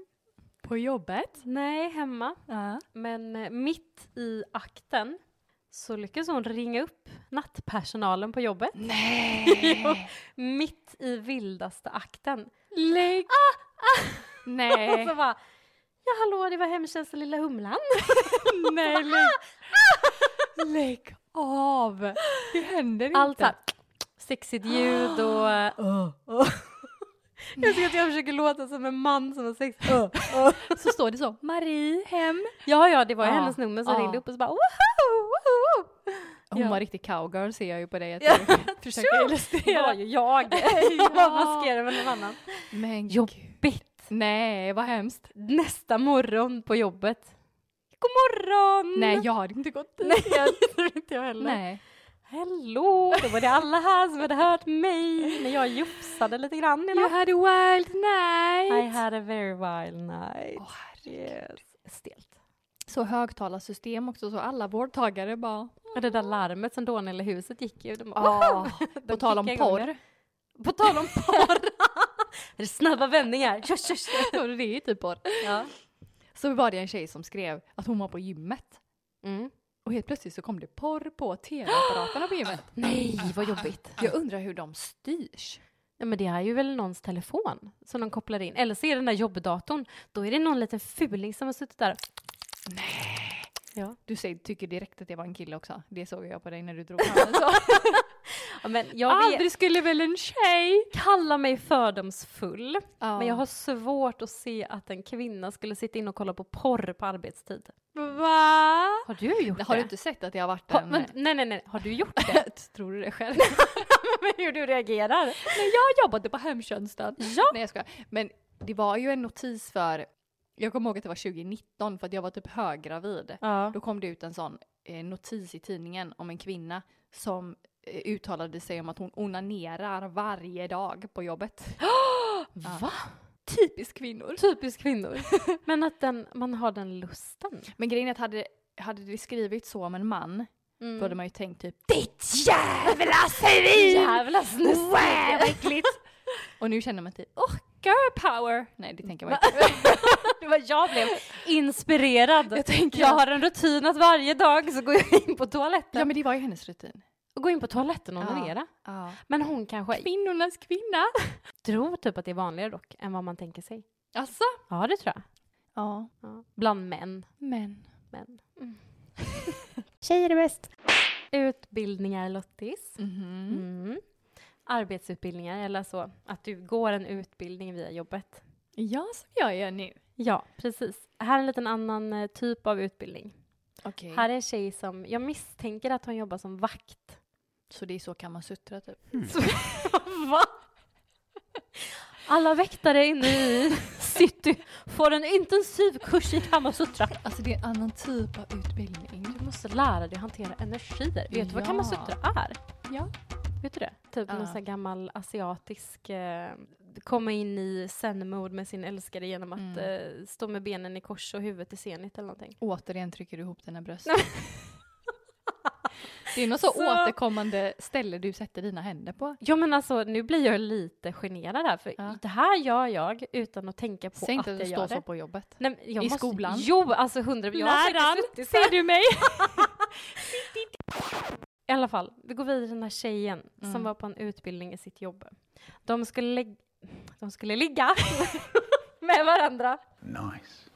[SPEAKER 1] På jobbet?
[SPEAKER 2] Nej, hemma.
[SPEAKER 1] Ja.
[SPEAKER 2] Men eh, mitt i akten så lyckas hon ringa upp nattpersonalen på jobbet. Jo, mitt i vildaste akten.
[SPEAKER 1] Lägg...
[SPEAKER 2] Och <laughs>
[SPEAKER 1] Nej.
[SPEAKER 2] så bara, ja hallå det var hemtjänsten Lilla Humlan.
[SPEAKER 1] <laughs> Nej,
[SPEAKER 2] <laughs>
[SPEAKER 1] lägg... lägg av! Det händer inte.
[SPEAKER 2] Allt såhär sexigt Ah, ljud <gasps> och... <laughs> jag älskar att jag försöker låta som en man som har sex.
[SPEAKER 1] så står det så. Marie hem.
[SPEAKER 2] ja, ja, det var ju
[SPEAKER 1] Ja,
[SPEAKER 2] hennes nummer som
[SPEAKER 1] ja.
[SPEAKER 2] ringde upp och så bara woho, woho.
[SPEAKER 1] Hon
[SPEAKER 2] Ja.
[SPEAKER 1] var riktig cowgirl ser jag ju på dig att
[SPEAKER 2] <laughs>
[SPEAKER 1] du försöker
[SPEAKER 2] Det var
[SPEAKER 1] illustrera.
[SPEAKER 2] ju <laughs> jag. Jag bara maskerade med någon annan.
[SPEAKER 1] Men gud.
[SPEAKER 2] Bitt.
[SPEAKER 1] Nej, vad hemskt.
[SPEAKER 2] Nästa morgon på jobbet. God morgon!
[SPEAKER 1] Nej, jag hade inte gått dit.
[SPEAKER 2] Mm. Nej, <laughs> det tror inte <laughs> jag heller.
[SPEAKER 1] Nej.
[SPEAKER 2] Hello! Då var det alla här som hade hört mig när jag jufsade lite grann i
[SPEAKER 1] You
[SPEAKER 2] natt.
[SPEAKER 1] had a wild night.
[SPEAKER 2] I had a very wild night.
[SPEAKER 1] Åh, herregud.
[SPEAKER 2] yes. Stelt.
[SPEAKER 1] Så högtalarsystem också så alla vårdtagare bara...
[SPEAKER 2] Och det där larmet som dånade i huset gick ju. De,
[SPEAKER 1] Ah, <laughs>
[SPEAKER 2] de
[SPEAKER 1] på tal om
[SPEAKER 2] kickade igång det.
[SPEAKER 1] porr.
[SPEAKER 2] På tal om porr! det är snabba <laughs> vändningar. Tjus, tjus, tjus.
[SPEAKER 1] Och det är ju typ porr.
[SPEAKER 2] Ja.
[SPEAKER 1] Så var det en tjej som skrev att hon var på gymmet.
[SPEAKER 2] Mm.
[SPEAKER 1] Och helt plötsligt så kom det porr på tv-apparaterna på gymmet.
[SPEAKER 2] Nej, vad jobbigt.
[SPEAKER 1] Jag undrar hur de styrs.
[SPEAKER 2] Ja, men det är ju väl någons telefon som de kopplar in. Eller så är det den där jobbdatorn. Då är det någon liten fuling som har suttit där.
[SPEAKER 1] Du säger, tycker direkt att det var en kille också. Det såg jag på dig när du drog <laughs> handen så.
[SPEAKER 2] Ja, men jag vet,
[SPEAKER 1] Aldrig skulle väl en tjej...
[SPEAKER 2] kalla mig fördomsfull.
[SPEAKER 1] Ja.
[SPEAKER 2] Men jag har svårt att se att en kvinna skulle sitta in och kolla på porr på arbetstid.
[SPEAKER 1] Va?
[SPEAKER 2] Har du gjort det?
[SPEAKER 1] Har du inte sett att jag har varit
[SPEAKER 2] Ha,
[SPEAKER 1] en...
[SPEAKER 2] men, nej, nej, nej. Har du gjort det? <laughs>
[SPEAKER 1] Tror du det själv?
[SPEAKER 2] men hur du reagerar?
[SPEAKER 1] När jag jobbade på hemtjänsten.
[SPEAKER 2] Ja.
[SPEAKER 1] Nej jag skojar. Men det var ju en notis för, jag kommer ihåg att det var 2019 för att jag var typ höggravid.
[SPEAKER 2] Ja.
[SPEAKER 1] Då kom det ut en sån eh, notis i tidningen om en kvinna som eh, uttalade sig om att hon onanerar varje dag på jobbet.
[SPEAKER 2] Va?
[SPEAKER 1] Typiskt kvinnor.
[SPEAKER 2] <gasps> Typiskt kvinnor. <laughs> men att den, man har den lusten.
[SPEAKER 1] Men grejen är att hade, hade det skrivits så om en man, då hade man ju tänkt typ
[SPEAKER 2] Ditt jävla svin!
[SPEAKER 1] <laughs>
[SPEAKER 2] Jävla snusk!
[SPEAKER 1] Wow, vad äckligt! Och nu känner man typ åh, girl power! Nej det tänker man inte. <laughs>
[SPEAKER 2] Det var jag blev inspirerad.
[SPEAKER 1] Jag tänker-
[SPEAKER 2] jag har en rutin att varje dag så går jag in på toaletten.
[SPEAKER 1] Ja men det var ju hennes rutin.
[SPEAKER 2] Och går in på toaletten och onanerar. Men hon kanske
[SPEAKER 1] Kvinnornas kvinna!
[SPEAKER 2] <laughs> tror typ att det är vanligare dock än vad man tänker sig.
[SPEAKER 1] Alltså?
[SPEAKER 2] Ja, det tror jag.
[SPEAKER 1] Ja.
[SPEAKER 2] Bland män.
[SPEAKER 1] Men.
[SPEAKER 2] män. <laughs> Tjejer är bäst. Utbildningar, Lottis.
[SPEAKER 1] Mhm.
[SPEAKER 2] Mm. Arbetsutbildningar, eller så. Att du går en utbildning via jobbet.
[SPEAKER 1] Ja, som jag gör nu.
[SPEAKER 2] Ja, precis. Här är en liten annan eh, typ av utbildning.
[SPEAKER 1] Okej.
[SPEAKER 2] Här är en tjej som, jag misstänker att hon jobbar som vakt.
[SPEAKER 1] Så det är så kan man suttra typ. <laughs>
[SPEAKER 2] Va? Alla väktare inne <laughs> i city får en intensiv kurs i Kamasutra.
[SPEAKER 1] Alltså det är en annan typ av utbildning.
[SPEAKER 2] Du måste lära dig att hantera energier. Vet du vad
[SPEAKER 1] Ja.
[SPEAKER 2] Kamasutra är?
[SPEAKER 1] Ja.
[SPEAKER 2] Vet du det? Typ
[SPEAKER 1] Ja.
[SPEAKER 2] någon sån här gammal asiatisk, eh, komma in i zen-mode med sin älskade genom att
[SPEAKER 1] Mm.
[SPEAKER 2] eh, stå med benen i kors och huvudet i zenit eller någonting.
[SPEAKER 1] Återigen trycker du ihop dina bröst. det är något <laughs> så,
[SPEAKER 2] Så-
[SPEAKER 1] återkommande ställe du sätter dina händer på.
[SPEAKER 2] Ja men alltså nu blir jag lite generad här för
[SPEAKER 1] Ja.
[SPEAKER 2] det här gör jag utan att tänka på
[SPEAKER 1] Säg
[SPEAKER 2] att
[SPEAKER 1] inte att
[SPEAKER 2] jag
[SPEAKER 1] du
[SPEAKER 2] gör
[SPEAKER 1] står så
[SPEAKER 2] det.
[SPEAKER 1] på jobbet.
[SPEAKER 2] Nej, men jag
[SPEAKER 1] I skolan?
[SPEAKER 2] Jo, alltså hundra. Jag har
[SPEAKER 1] Läraren,
[SPEAKER 2] säkert suttit så här.
[SPEAKER 1] du
[SPEAKER 2] <laughs>
[SPEAKER 1] mig?
[SPEAKER 2] I alla fall, vi går vidare till den här tjejen
[SPEAKER 1] Mm.
[SPEAKER 2] som var på en utbildning i sitt jobb. De skulle, lägg- de skulle <laughs> ligga med varandra.
[SPEAKER 3] Nice.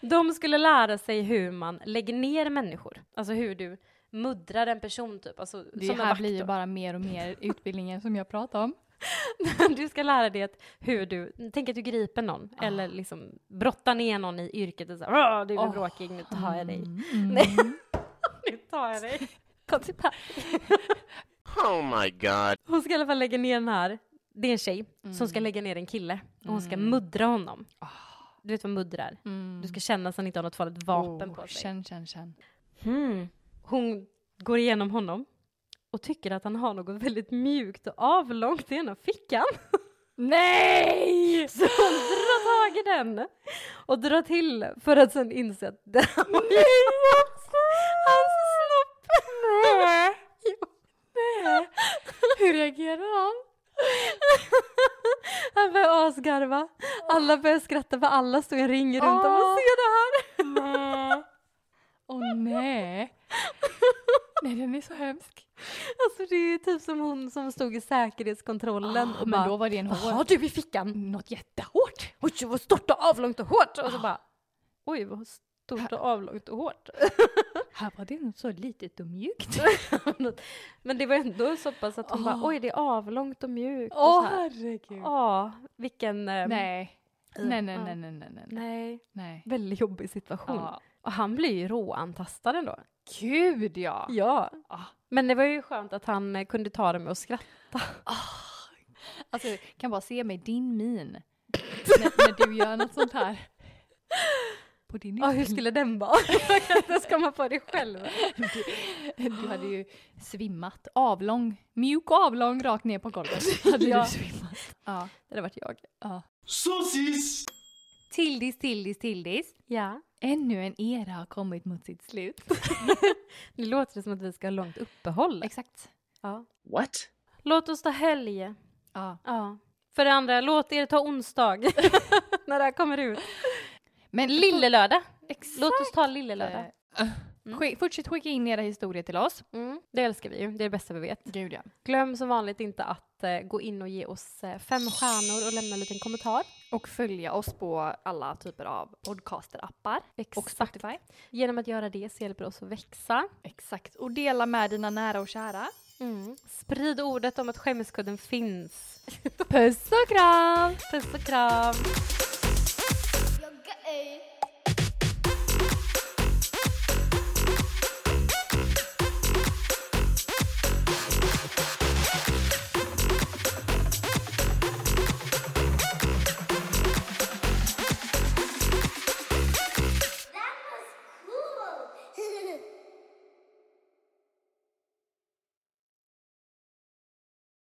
[SPEAKER 2] De skulle lära sig hur man lägger ner människor. Alltså hur du muddrar en person typ. Alltså,
[SPEAKER 1] Det
[SPEAKER 2] som en
[SPEAKER 1] här
[SPEAKER 2] vakt
[SPEAKER 1] blir ju
[SPEAKER 2] då.
[SPEAKER 1] bara mer och mer utbildningen som jag pratar om.
[SPEAKER 2] <laughs> Du ska lära dig att hur du, tänk att du griper någon
[SPEAKER 1] Ah.
[SPEAKER 2] eller liksom brottar ner någon i yrket och så här, "Åh, du är
[SPEAKER 1] Åh.
[SPEAKER 2] bråkig, nu tar jag dig.
[SPEAKER 1] Mm.
[SPEAKER 2] Nej. <laughs> nu tar
[SPEAKER 1] <laughs>
[SPEAKER 2] jag dig. Kom till pappa.
[SPEAKER 8] <laughs> Oh my god.
[SPEAKER 2] Hon ska i alla fall lägga ner den här, det är en tjej som
[SPEAKER 1] Mm.
[SPEAKER 2] ska lägga ner en kille och hon ska muddra honom. Du vet vad muddra är?
[SPEAKER 1] Ah. Mm.
[SPEAKER 2] Du ska känna så han inte har något farligt vapen
[SPEAKER 1] Oh,
[SPEAKER 2] på sig.
[SPEAKER 1] Känn, känn, känn.
[SPEAKER 2] Hmm. Hon går igenom honom och tycker att han har något väldigt mjukt och avlångt i ena fickan. <laughs> Nej! Så hon drar tag i den och drar till för att sen inse att det här var ju hans- hans snopp. Nej! <laughs> Jo. Nej. Hur reagerar han? Han börjar asgarva. Alla börjar skratta för alla står i en ring runt om och ser det här.
[SPEAKER 1] Åh nej. nej, den är så hemsk.
[SPEAKER 2] Alltså det är typ som hon som stod i säkerhetskontrollen och
[SPEAKER 1] Ah, men
[SPEAKER 2] bara
[SPEAKER 1] då var det en
[SPEAKER 2] Jaha
[SPEAKER 1] hård.
[SPEAKER 2] du i fickan, Ah.
[SPEAKER 1] Något jättehårt.
[SPEAKER 2] hårt! Oj vad stort och avlångt och hårt! Och så bara oj vad stort och avlångt och hårt. <laughs>
[SPEAKER 1] Här var det något så litet och mjukt.
[SPEAKER 2] Men det var ändå så pass att hon bara
[SPEAKER 1] Åh.
[SPEAKER 2] oj det är avlångt och mjukt
[SPEAKER 1] <laughs> Åh
[SPEAKER 2] och så här. Ah,
[SPEAKER 1] herregud.
[SPEAKER 2] Ja, vilken... eh,
[SPEAKER 1] Nej. Nej, nej,
[SPEAKER 2] Ja.
[SPEAKER 1] nej, nej, nej, nej.
[SPEAKER 2] Nej,
[SPEAKER 1] nej.
[SPEAKER 2] väldigt jobbig situation.
[SPEAKER 1] Ja.
[SPEAKER 2] Och han blir ju råantastad ändå.
[SPEAKER 1] Gud ja.
[SPEAKER 2] Ja.
[SPEAKER 1] Ah.
[SPEAKER 2] Men det var ju skönt att han eh, kunde ta det med att skratta.
[SPEAKER 1] Alltså, kan bara se mig din min. när, när du gör något sånt här. På din
[SPEAKER 2] Ja, hur skulle den vara? <laughs> Jag kan inte ens komma på det själv.
[SPEAKER 1] <laughs> Du hade ju svimmat. Avlång, mjuk och avlång rakt ner på <laughs> golvet. Hade
[SPEAKER 2] Ja.
[SPEAKER 1] du svimmat. Ja.
[SPEAKER 2] Det hade varit jag.
[SPEAKER 1] ja.
[SPEAKER 3] Sosis!
[SPEAKER 1] Tildis, Tildis, Tildis.
[SPEAKER 2] Ja.
[SPEAKER 1] Ännu en era har kommit mot sitt <laughs> slut.
[SPEAKER 2] Nu låter det som att vi ska ha långt uppehåll.
[SPEAKER 1] Exakt.
[SPEAKER 2] Ja.
[SPEAKER 8] What?
[SPEAKER 2] Låt oss ta helg.
[SPEAKER 1] Ja.
[SPEAKER 2] Ja. För det andra, låt er ta <laughs> onsdag när det här kommer ut.
[SPEAKER 1] Men lille...
[SPEAKER 2] Lillelördag.
[SPEAKER 1] Exakt. Mm.
[SPEAKER 2] Låt oss ta lillelördag.
[SPEAKER 1] Skick- Fortsätt skicka in era historier till oss.
[SPEAKER 2] Mm. Det älskar vi ju, det är det bästa vi vet.
[SPEAKER 1] Gud ja.
[SPEAKER 2] Glöm som vanligt inte att eh, gå in och ge oss eh, fem stjärnor och lämna en liten kommentar.
[SPEAKER 1] Och följa oss på alla typer av podcasterappar. Och Spotify.
[SPEAKER 2] Genom att göra det så hjälper det oss att växa.
[SPEAKER 1] Exakt. Och dela med dina nära och kära.
[SPEAKER 2] Mm. Sprid <laughs> ordet om att skämskudden finns.
[SPEAKER 1] Puss och kram!
[SPEAKER 2] Puss och kram!